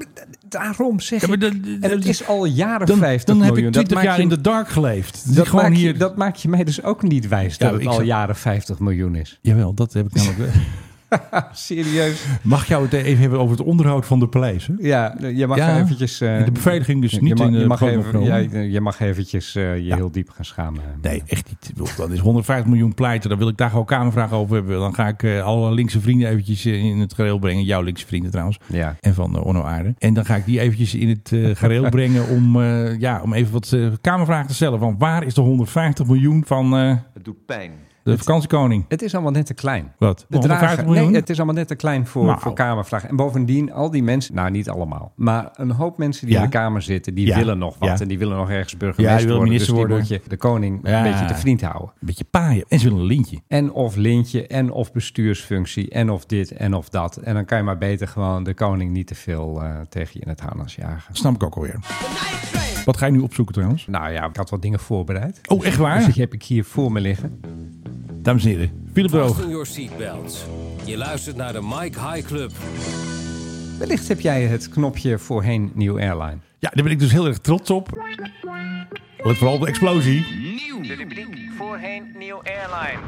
S2: daarom zeg
S3: Ja,
S2: ik.
S3: maar dat- dat-
S2: en het is al jaren
S3: dan,
S2: 50
S3: dan heb
S2: miljoen.
S3: ik 20
S2: maakt
S3: jaar
S2: je-
S3: in de dark geleefd. Dat
S2: dat,
S3: gewoon
S2: maak je,
S3: hier...
S2: dat maak je mij dus ook niet wijs dat
S3: Ja,
S2: het
S3: ik
S2: al
S3: zou-
S2: jaren 50 miljoen is.
S3: Jawel, dat heb ik namelijk wel.
S2: (laughs)
S3: Ah,
S2: Serieus?
S3: Mag jou het even hebben over het onderhoud van de paleis? hè?
S2: Ja, je mag
S3: Ja,
S2: eventjes... eh,
S3: de beveiliging dus
S2: je
S3: niet
S2: mag-
S3: in de
S2: je mag,
S3: grote
S2: even,
S3: opgenomen.
S2: ja, je- je mag eventjes eh, je heel diep gaan schamen.
S3: Nee, echt niet. Ik bedoel, Dat is 150 miljoen pleiten. Dan wil ik daar gewoon kamervragen over hebben. Dan ga ik eh, alle linkse vrienden eventjes eh, in het gareel brengen. Jouw linkse vrienden trouwens.
S2: Ja.
S3: En van eh, Onno Aarde. En dan ga ik die eventjes in het eh, (laughs) gareel brengen om, eh, ja, om even wat eh, kamervragen te stellen. Van waar is de 150 miljoen van eh,
S6: Het doet pijn.
S3: de vakantiekoning?
S2: Het is allemaal net te klein.
S3: Wat?
S2: De
S3: 150
S2: drager,
S3: miljoen?
S2: nee, het is allemaal net te klein voor,
S3: Nou.
S2: voor Kamervragen. En bovendien, al die mensen, nou niet allemaal, maar een hoop mensen die
S3: Ja.
S2: in de Kamer zitten, die
S3: Ja.
S2: willen nog wat.
S3: Ja.
S2: En die willen nog ergens
S3: Ja,
S2: burgemeester
S3: die willen
S2: worden.
S3: minister
S2: dus die
S3: worden.
S2: moet je de koning
S3: Ja.
S2: een beetje te vriend houden.
S3: Een beetje paaien. En ze willen een lintje.
S2: En of lintje, en of bestuursfunctie, en of dit, en of dat. En dan kan je maar beter gewoon de koning niet te veel eh, tegen je in het harnas jagen.
S3: Dat snap ik ook alweer. Wat ga je nu opzoeken trouwens?
S2: Nou ja, ik had wat dingen voorbereid.
S3: Oh, echt waar?
S2: Dus die heb ik hier voor me liggen.
S3: Dames en heren, Philip Droog.
S8: Fasten your seatbelts. Je luistert naar de Mike High Club.
S2: Wellicht heb jij het knopje voorheen Nieuw Airline.
S3: Ja, daar ben ik dus heel erg trots op. Let vooral op de explosie.
S7: Voorheen Nieuw Airline.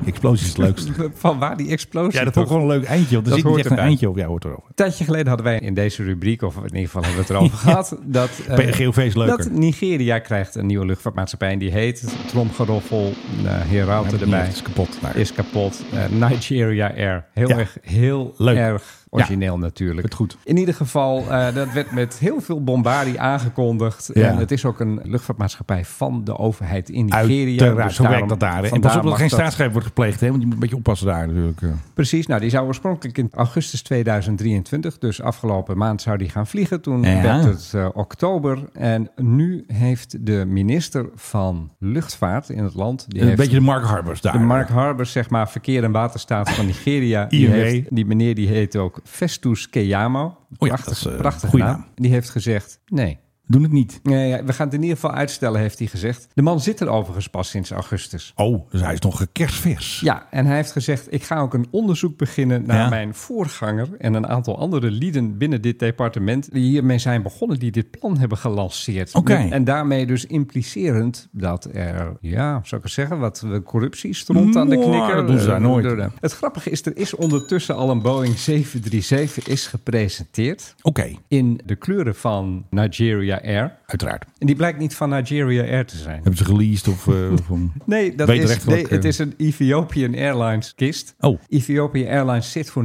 S3: De explosie is het leukste.
S2: (laughs) Van waar die explosie?
S3: Ja, dat
S2: toch?
S3: vond ik gewoon een leuk eindje. Want
S2: Dat
S3: er zit niet
S2: hoort
S3: echt een
S2: erbij.
S3: eindje op. Ja, hoort erover.
S2: Een tijdje geleden hadden wij in deze rubriek, of in ieder geval hebben we het
S3: (laughs)
S2: erover gehad, dat, eh,
S3: PGOV is leuker.
S2: dat Nigeria krijgt een nieuwe luchtvaartmaatschappij. En die heet Tromgeroffel, eh Herauten
S3: het niet,
S2: erbij.
S3: het is kapot. Nou,
S2: Is kapot. Eh, Nigeria Air. Heel
S3: Ja.
S2: erg, heel
S3: Leuk.
S2: erg origineel natuurlijk.
S3: Het goed.
S2: In ieder geval, eh, dat werd met heel veel bombardie aangekondigd.
S3: Ja.
S2: En het is ook een luchtvaartmaatschappij van de overheid in Nigeria.
S3: Uiteraard,
S2: Dus
S3: zo werkt
S2: daarom-
S3: dat daar. hè. En
S2: vandaar
S3: pas op dat
S2: mag
S3: er geen staatsgreep wordt gepleegd. Hè? Want je moet een beetje oppassen daar natuurlijk. eh.
S2: Precies, nou die zou oorspronkelijk in augustus 2023, dus afgelopen maand zou die gaan vliegen. Toen
S3: Ja.
S2: werd het eh, oktober en nu heeft de minister van Luchtvaart in het land, die
S3: Een
S2: heeft
S3: beetje de Mark Harbers daar.
S2: de Mark Harbers, zeg maar, verkeer en waterstaat van Nigeria. die,
S3: IMW.
S2: heeft, die meneer die heet ook Festus Keyamo.
S3: E. ja, dat is,
S2: prachtig,
S3: eh,
S2: prachtig
S3: goeie
S2: naam.
S3: naam.
S2: Die heeft gezegd, nee,
S3: Doen het niet.
S2: nee ja, we gaan het in ieder geval uitstellen, heeft hij gezegd. De man zit er overigens pas sinds augustus.
S3: Oh, dus hij is nog kerstvers.
S2: Ja, en hij heeft gezegd: Ik ga ook een onderzoek beginnen naar
S3: Ja.
S2: mijn voorganger en een aantal andere lieden binnen dit departement die hiermee zijn begonnen, die dit plan hebben gelanceerd.
S3: Oké.
S2: Met- En daarmee dus implicerend dat er, ja, zou ik eens zeggen, wat eh, corruptie stront aan de
S3: Mwah,
S2: knikker.
S3: Nou, dat doen ze daar
S2: Eh,
S3: nooit.
S2: door de- Het grappige is, er is ondertussen al een Boeing 737 is gepresenteerd
S3: Oké,
S2: in de kleuren van Nigeria Air.
S3: uiteraard.
S2: En die blijkt niet van Nigeria Air te zijn.
S3: Hebben ze geleased of... eh, of een-
S2: (laughs) Nee, dat
S3: Beter
S2: is,
S3: recht eh, wel
S2: nee, het
S3: kunnen.
S2: is een Ethiopian Airlines kist.
S3: Oh.
S2: Ethiopian Airlines zit voor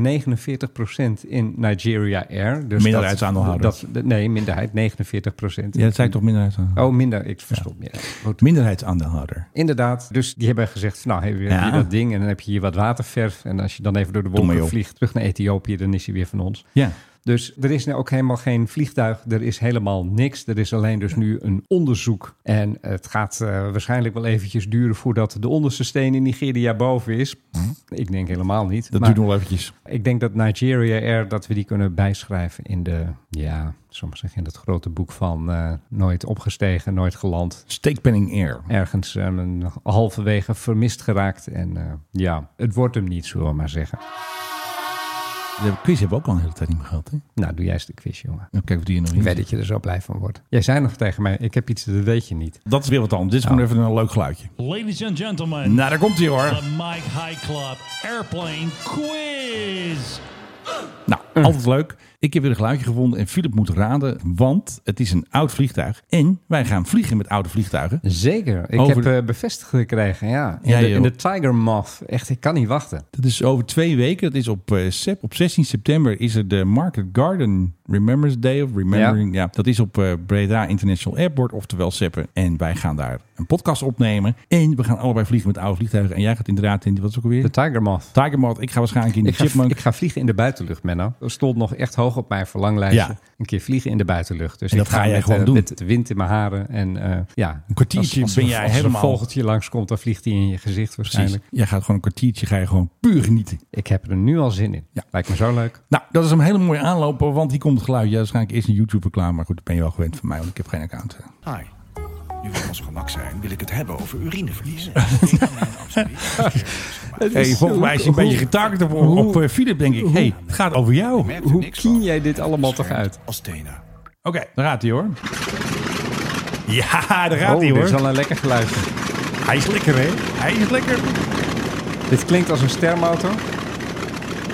S2: 49% in Nigeria Air. Dus
S3: Minderheidsaandeelhouder.
S2: dat- dat- Nee, minderheid, 49%.
S3: Ja, dat zei ik toch minderheidsaandeelhouder.
S2: Oh, minder. Ik verstond meer. Goed.
S3: Minderheidsaandeelhouder.
S2: Inderdaad, dus die hebben gezegd, nou heb je, heb
S3: Ja.
S2: je dat ding en dan heb je hier wat waterverf. En als je dan even door de
S3: maar
S2: wolken
S3: joh.
S2: vliegt terug naar Ethiopië, dan is hij weer van ons.
S3: Ja.
S2: Dus er is nu ook helemaal geen vliegtuig, er is helemaal niks. Er is alleen dus nu een onderzoek. En het gaat eh, waarschijnlijk wel eventjes duren voordat de onderste steen in Nigeria boven is. Ik denk helemaal niet.
S3: Dat
S2: maar
S3: duurt nog wel eventjes.
S2: ik denk dat Nigeria Air, dat we die kunnen bijschrijven in de, ja, soms zeggen in dat grote boek van eh, nooit opgestegen, nooit geland.
S3: Steekpenning Air.
S2: Ergens eh, een- halverwege vermist geraakt. En eh, ja, het wordt hem niet, zullen we maar zeggen.
S3: De quiz hebben we ook al een hele tijd niet meer gehad. Hè?
S2: Nou, doe jij eens de quiz, jongen.
S3: Nou, kijk of die er nog
S2: Ik
S3: in
S2: weet
S3: zit.
S2: dat je er zo blij van wordt. Jij zei nog tegen mij, ik heb iets, dat weet je niet.
S3: Dat is weer wat anders. Dit is gewoon even een leuk geluidje.
S10: Ladies and gentlemen,
S3: Nou, daar komt hij hoor.
S10: the Mike High Club Airplane Quiz.
S3: Nou, altijd leuk. Ik heb weer een geluidje gevonden en Philip moet raden, want het is een oud vliegtuig. En wij gaan vliegen met oude vliegtuigen.
S2: Zeker. Ik
S3: Over
S2: heb
S3: de-
S2: eh, bevestigd gekregen, ja. In,
S3: Ja,
S2: de,
S3: joh.
S2: in de Tiger Moth. Echt, ik kan niet wachten.
S3: Dat is over twee weken. Dat is op, eh, sep, op 16 september is er de Market Garden Remembrance Day of Remembering. Ja. dat is op eh, Breda International Airport, oftewel Seppen. En wij gaan daar een podcast opnemen. En we gaan allebei vliegen met oude vliegtuigen. En jij gaat inderdaad in, die- wat is het ook
S2: De
S3: weer?
S2: Tiger Moth.
S3: Tiger Moth. Ik ga waarschijnlijk in de
S2: Ik ga,
S3: Chipmunk.
S2: ik ga vliegen in de buitenlucht, Menno. Dat stond nog echt hoog op mijn verlanglijstje.
S3: Ja.
S2: Een keer vliegen in de buitenlucht. Dus
S3: En
S2: ik
S3: dat ga jij
S2: met,
S3: gewoon
S2: eh,
S3: doen.
S2: Met de wind in mijn haren. En eh, ja, een
S3: kwartiertje ben jij
S2: als
S3: helemaal-
S2: Als een vogeltje langskomt, dan vliegt hij in je gezicht
S3: Precies.
S2: waarschijnlijk.
S3: Jij gaat gewoon een kwartiertje, ga je gewoon puur genieten.
S2: Ik heb er nu al zin in.
S3: Ja.
S2: Lijkt me zo leuk.
S3: Nou, dat is een hele mooie aanloop, want hier komt het geluid. Ja, waarschijnlijk eerst een YouTube-reclame, maar goed, dat ben je wel gewend van mij, want ik heb geen account. eh.
S11: Hi. Nu we op ons gemak zijn, wil ik het hebben over urineverlies.
S3: Hey, volgens mij is hij een beetje getarget op, op eh, Philip, denk ik. hey, het gaat over jou. Oké,
S2: Hoe kien jij dit allemaal toch uit?
S11: Als Tena.
S3: daar gaat hij hoor. Ja, daar gaat hij
S2: Oh, dit is
S3: hoor.
S2: wel een lekker geluidje.
S3: Hij is lekker, hè? Hij is lekker.
S2: Dit klinkt als een stermotor.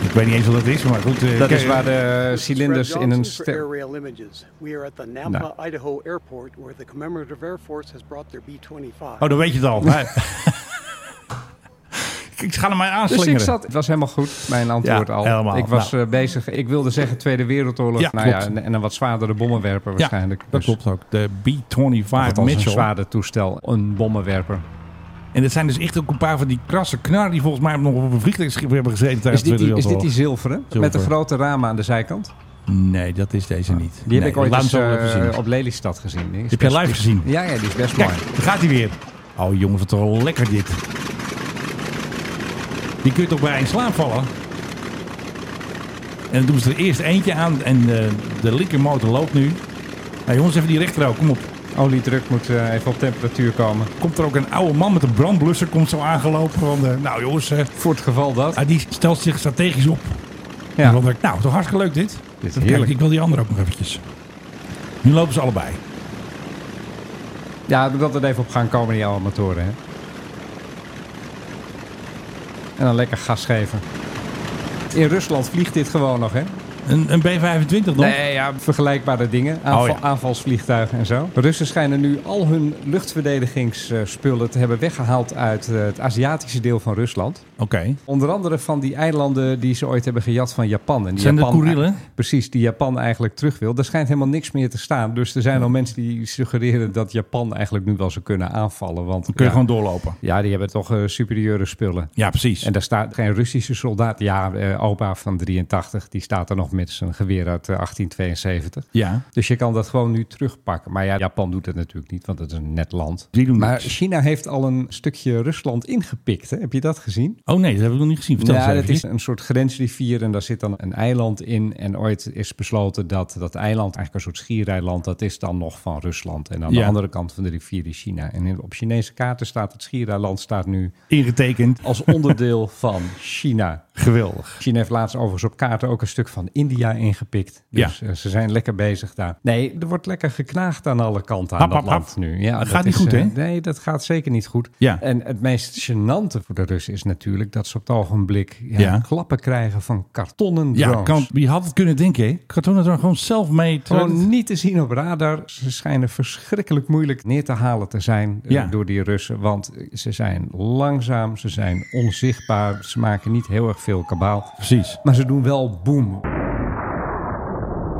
S3: Ik weet niet eens wat dat is, maar goed. eh,
S2: Dat
S3: kijk,
S2: is waar de cilinders in een ster...
S9: aerial images. We are at the Napa,
S2: Nou.
S9: Idaho airport where the commemorative Air Force has brought their B-25.
S3: Oh, dan weet je het
S2: (laughs)
S3: al. Hij- (laughs) Ik- ik ga hem maar
S2: Dus
S3: aanslingeren.
S2: ik zat, het was helemaal goed, mijn antwoord
S3: Ja,
S2: al.
S3: helemaal. Nou.
S2: Ik was eh, bezig, ik wilde zeggen Tweede Wereldoorlog.
S3: Ja,
S2: nou ja,
S3: klopt.
S2: en, en een wat zwaardere bommenwerper
S3: ja,
S2: waarschijnlijk.
S3: dat
S2: Dus-
S3: klopt ook. De B-25
S2: Althans, een
S3: Mitchell.
S2: zwaarder toestel, een bommenwerper.
S3: En dat zijn dus echt ook een paar van die krasse knarren die volgens mij nog op een vliegtuigschip hebben gezeten tijdens
S2: Is dit,
S3: de
S2: die, is
S3: Tweede
S2: dit die
S3: Wereldoorlog.
S2: zilveren? Met de
S3: Zilveren.
S2: grote ramen aan de zijkant?
S3: Nee, dat is deze niet.
S2: Ah, Die heb
S3: Nee,
S2: ik ooit
S3: laat
S2: eens,
S3: hem zo wel even
S2: eh,
S3: zien.
S2: op Lelystad gezien. Die is
S3: Heb jij
S2: best-
S3: live
S2: die-
S3: gezien?
S2: Ja, ja, die is best
S3: Kijk,
S2: mooi.
S3: daar gaat hij weer. Oh jongens, wat wel lekker dit. Die kun je toch bij in slaap vallen? En dan doen ze er eerst eentje aan en eh, de linkermotor loopt nu. Nou jongens, even die rechter ook, kom op.
S2: Oliedruk moet eh, even op temperatuur komen.
S3: Komt er ook een oude man met een brandblusser, komt zo aangelopen van... eh, nou jongens, eh,
S2: Voor het geval dat.
S3: ah, die stelt zich strategisch op.
S2: Ja.
S3: Want ik- nou, toch hartstikke leuk dit.
S2: Dit is
S3: Kijk,
S2: heerlijk.
S3: Ik wil die andere ook nog eventjes. Nu lopen ze allebei.
S2: Ja, dat het even op gang komen, die oude motoren. Hè? En dan lekker gas geven. In Rusland vliegt dit gewoon nog, hè?
S3: Een, een B-25 nog?
S2: Nee, ja, vergelijkbare dingen. Aanval-
S3: Oh, ja.
S2: Aanvalsvliegtuigen en zo. De Russen schijnen nu al hun luchtverdedigingsspullen te hebben weggehaald uit eh, het Aziatische deel van Rusland.
S3: Oké.
S2: Onder andere van die eilanden die ze ooit hebben gejat van Japan. En die
S3: Zijn dat
S2: Japan
S3: Kurielen?
S2: Precies, die Japan eigenlijk terug wil. Daar schijnt helemaal niks meer te staan. Dus er zijn al mensen die suggereren dat Japan eigenlijk nu wel zou kunnen aanvallen. Want
S3: Dan kun je
S2: ja,
S3: gewoon doorlopen.
S2: ja, die hebben toch eh, superieure spullen.
S3: Ja, precies.
S2: En daar staat geen Russische soldaat. Ja, eh, opa van 83, die staat er nog met zijn geweer uit eh, 1872.
S3: Ja.
S2: Dus je kan dat gewoon nu terugpakken. Maar ja, Japan doet dat natuurlijk niet, want het is een net land.
S3: Die doen
S2: maar
S3: niks.
S2: China heeft al een stukje Rusland ingepikt. Hè? Heb je dat gezien?
S3: Oh nee, dat hebben we nog niet gezien. Vertel
S2: ja,
S3: eens
S2: dat
S3: even.
S2: is een soort grensrivier en daar zit dan een eiland in. En ooit is besloten dat dat eiland, eigenlijk een soort schiereiland, dat is dan nog van Rusland. En aan
S3: Ja.
S2: de andere kant van de rivier is China. En in- op Chinese kaarten staat het schiereiland staat nu
S3: Ingetekend.
S2: als onderdeel van China.
S3: Geweldig.
S2: China heeft laatst overigens op kaarten ook een stuk van India ingepikt. Dus eh, ze zijn lekker bezig daar. Nee, er wordt lekker geknaagd aan alle kanten aan
S3: Hap,
S2: dat
S3: hap,
S2: land
S3: hap.
S2: nu. Ja,
S3: Dat gaat niet goed,
S2: eh,
S3: hè?
S2: Nee, dat gaat zeker niet goed.
S3: Ja.
S2: En het meest gênante voor de Russen is natuurlijk dat ze op het ogenblik ja,
S3: Ja.
S2: klappen krijgen van kartonnen drones.
S3: Ja, kan, wie had het kunnen denken, hè? Cartoon had gewoon self-made.
S2: Gewoon niet te zien op radar. Ze schijnen verschrikkelijk moeilijk neer te halen te zijn eh,
S3: Ja.
S2: door die Russen. Want eh, ze zijn langzaam, ze zijn onzichtbaar. Ze maken niet heel erg veel kabaal.
S3: Precies.
S2: Maar ze doen wel boom.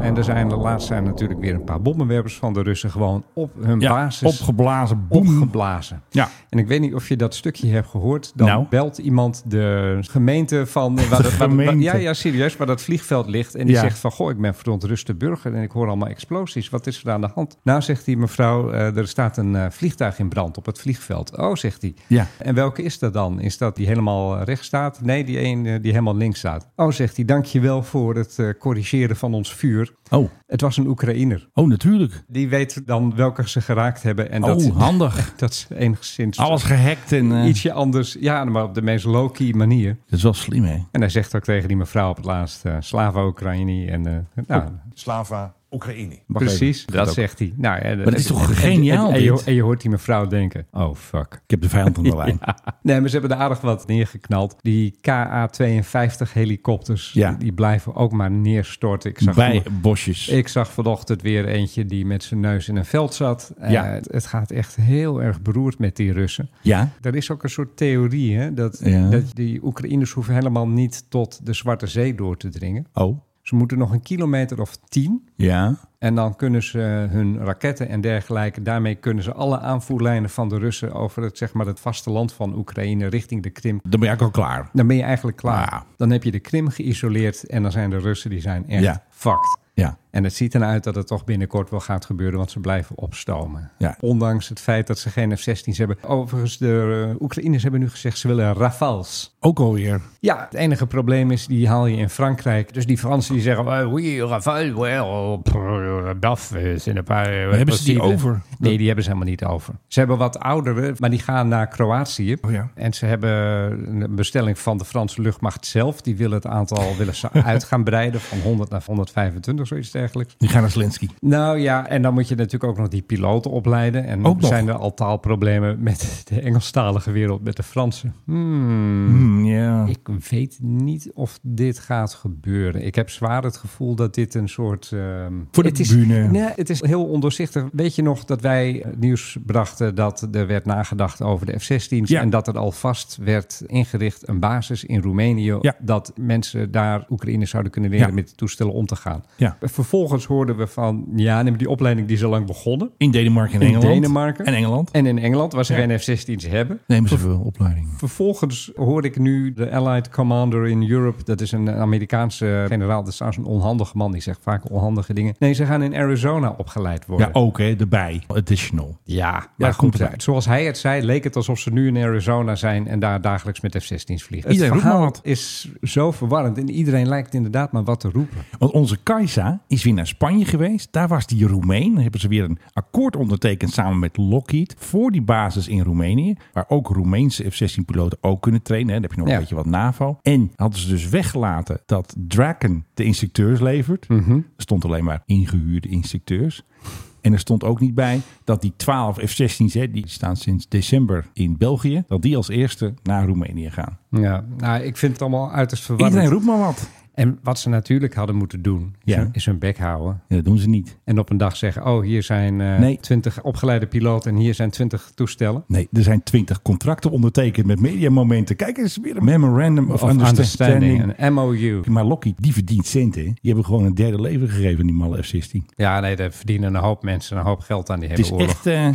S2: En er zijn de laatst zijn natuurlijk weer een paar bommenwerpers van de Russen gewoon op hun
S3: Ja,
S2: basis
S3: opgeblazen. Boom.
S2: opgeblazen.
S3: Ja.
S2: En ik weet niet of je dat stukje hebt gehoord. Dan
S3: Nou.
S2: belt iemand de gemeente van eh, waar, dat- waar-
S3: gemeente.
S2: waar- ja, ja, serieus, waar dat vliegveld ligt. En die
S3: Ja.
S2: zegt van, goh, ik ben verontrust de burger en ik hoor allemaal explosies. Wat is er aan de hand? Nou, zegt die mevrouw, eh, er staat een eh, vliegtuig in brand op het vliegveld. Oh, zegt hij.
S3: Ja.
S2: En welke is dat dan? Is dat die helemaal rechts staat? Nee, die een eh, die helemaal links staat. Oh, zegt hij, dankjewel voor het eh, corrigeren van ons vuur.
S3: Oh.
S2: Het was een Oekraïner.
S3: Oh, natuurlijk.
S2: Die weet dan welke ze geraakt hebben. En
S3: Oh,
S2: dat, (laughs)
S3: handig.
S2: Dat is enigszins...
S3: Alles gehackt en... eh,
S2: Ietsje anders. Ja, maar op de meest low-key manier.
S3: Dat is wel slim, hè?
S2: En hij zegt ook tegen die mevrouw op het laatst... eh, Slava Oekraïni en... eh, nou,
S11: Slava Oekraïne.
S3: Wacht even.
S2: Precies,
S3: Dat
S2: dat
S3: ook.
S2: zegt hij. Nou, maar
S3: dat is toch geniaal,
S2: En, en, je,
S3: dit?
S2: en je hoort die mevrouw denken, oh fuck.
S3: Ik heb de vijand aan de lijn.
S2: (laughs) Ja. Nee, maar ze hebben er aardig wat neergeknald. Die KA-52 helikopters,
S3: Ja.
S2: die blijven ook maar neerstorten. Ik zag
S3: Bij
S2: van-
S3: bosjes.
S2: ik zag vanochtend weer eentje die met zijn neus in een veld zat. Eh,
S3: Ja.
S2: het, het gaat echt heel erg beroerd met die Russen.
S3: Ja.
S2: Er is ook een soort theorie hè, dat,
S3: Ja.
S2: dat die Oekraïners hoeven helemaal niet tot de Zwarte Zee door te dringen.
S3: Oh.
S2: Ze moeten nog een kilometer of tien
S3: Ja.
S2: en dan kunnen ze eh, hun raketten en dergelijke, daarmee kunnen ze alle aanvoerlijnen van de Russen over het, zeg maar, het vasteland van Oekraïne richting de Krim.
S3: Dan ben ik al klaar.
S2: Dan ben je eigenlijk klaar.
S3: Ja.
S2: Dan heb je de Krim geïsoleerd en dan zijn de Russen die zijn echt
S3: Ja.
S2: fucked.
S3: Ja.
S2: En het ziet eruit dat het toch binnenkort wel gaat gebeuren, want ze blijven opstomen.
S3: Ja.
S2: Ondanks het feit dat ze geen F-16's hebben. Overigens, de eh, Oekraïners hebben nu gezegd ze willen Rafales.
S3: Ook alweer.
S2: Ja, het enige probleem is, die haal je in Frankrijk. Dus die Fransen die zeggen, eh, oui, Rafale, well, pff, daf, eh, c'est n'est pas, eh,
S3: Hebben ze die
S2: possible.
S3: over?
S2: Nee, die hebben ze helemaal niet over. Ze hebben wat oudere, maar die gaan naar Kroatië.
S11: Oh ja.
S2: En ze hebben een bestelling van de Franse luchtmacht zelf. Die willen het aantal willen ze uit gaan breiden van 100 naar 125, zoiets dergelijks.
S3: Die gaan naar Zelensky.
S2: Nou ja, en dan moet je natuurlijk ook nog die piloten opleiden. En
S3: Ook nog.
S2: zijn er al taalproblemen met de Engelstalige wereld, met de Fransen. Hmm.
S3: Hmm, ja.
S2: Ik weet niet of dit gaat gebeuren. Ik heb zwaar het gevoel dat dit een soort... ehm,
S3: Voor de
S2: het is,
S3: bühne.
S2: Nee, het is heel ondoorzichtig. Weet je nog dat wij het nieuws brachten dat er werd nagedacht over de F-16's...
S3: Ja.
S2: en dat er alvast werd ingericht een basis in Roemenië...
S3: Ja.
S2: dat mensen daar Oekraïners zouden kunnen leren
S3: Ja.
S2: met die toestellen om te gaan.
S3: Ja.
S2: Vervolgens hoorden we van, ja, neem die opleiding die is al lang begonnen...
S3: In Denemarken en
S2: In
S3: Engeland.
S2: Denemarken.
S3: En Engeland.
S2: En in Engeland, waar ze
S3: Ja.
S2: geen F-16's hebben.
S3: Nemen ze veel opleiding.
S2: Vervolgens hoor ik nu de Allied Commander in Europe. Dat is een Amerikaanse generaal. Dat is trouwens een onhandige man. Die zegt vaak onhandige dingen. Nee, ze gaan in Arizona opgeleid worden.
S3: Ja, ook hè. Erbij. Additional.
S2: Ja,
S3: Ja,
S2: maar
S3: komt
S2: goed.
S3: erbij.
S2: Zoals hij het zei, leek het alsof ze nu in Arizona zijn en daar dagelijks met F-16's vliegen.
S3: Iedereen
S2: het
S3: roept
S2: verhaal
S3: maar wat.
S2: is zo verwarrend en iedereen lijkt inderdaad maar wat te roepen.
S3: Want onze Kajsa is weer naar Spanje geweest. Daar was die Roemeen. Daar hebben ze weer een akkoord ondertekend samen met Lockheed. Voor die basis in Roemenië. Waar ook Roemeense F-16-piloten ook kunnen trainen. hè. Dan heb je nog
S2: Ja.
S3: een beetje wat NAVO. En hadden ze dus weggelaten dat Draken de instructeurs levert. Er stond alleen maar ingehuurde instructeurs. En er stond ook niet bij dat die 12 F-16's, hè, die staan sinds december in België, dat die als eerste naar Roemenië gaan.
S2: Ja, nou, ik vind het allemaal uiterst verwarrend.
S3: Iedereen roept maar wat.
S2: En wat ze natuurlijk hadden moeten doen, is
S3: Ja.
S2: hun- is hun bek houden.
S3: Ja, dat doen ze niet.
S2: En op een dag zeggen, oh, hier zijn
S3: Nee.
S2: twintig opgeleide piloten en hier zijn twintig toestellen.
S3: Nee, er zijn twintig contracten ondertekend met mediamomenten. Kijk eens, weer een memorandum of,
S2: Of understanding,
S3: understanding.
S2: een MOU.
S3: Maar Lockheed, die verdient centen. Die hebben gewoon een derde leven gegeven, die malle F-16.
S2: Ja, nee, daar verdienen een hoop mensen een hoop geld aan die
S3: Het is
S2: hele oorlog.
S3: echt eh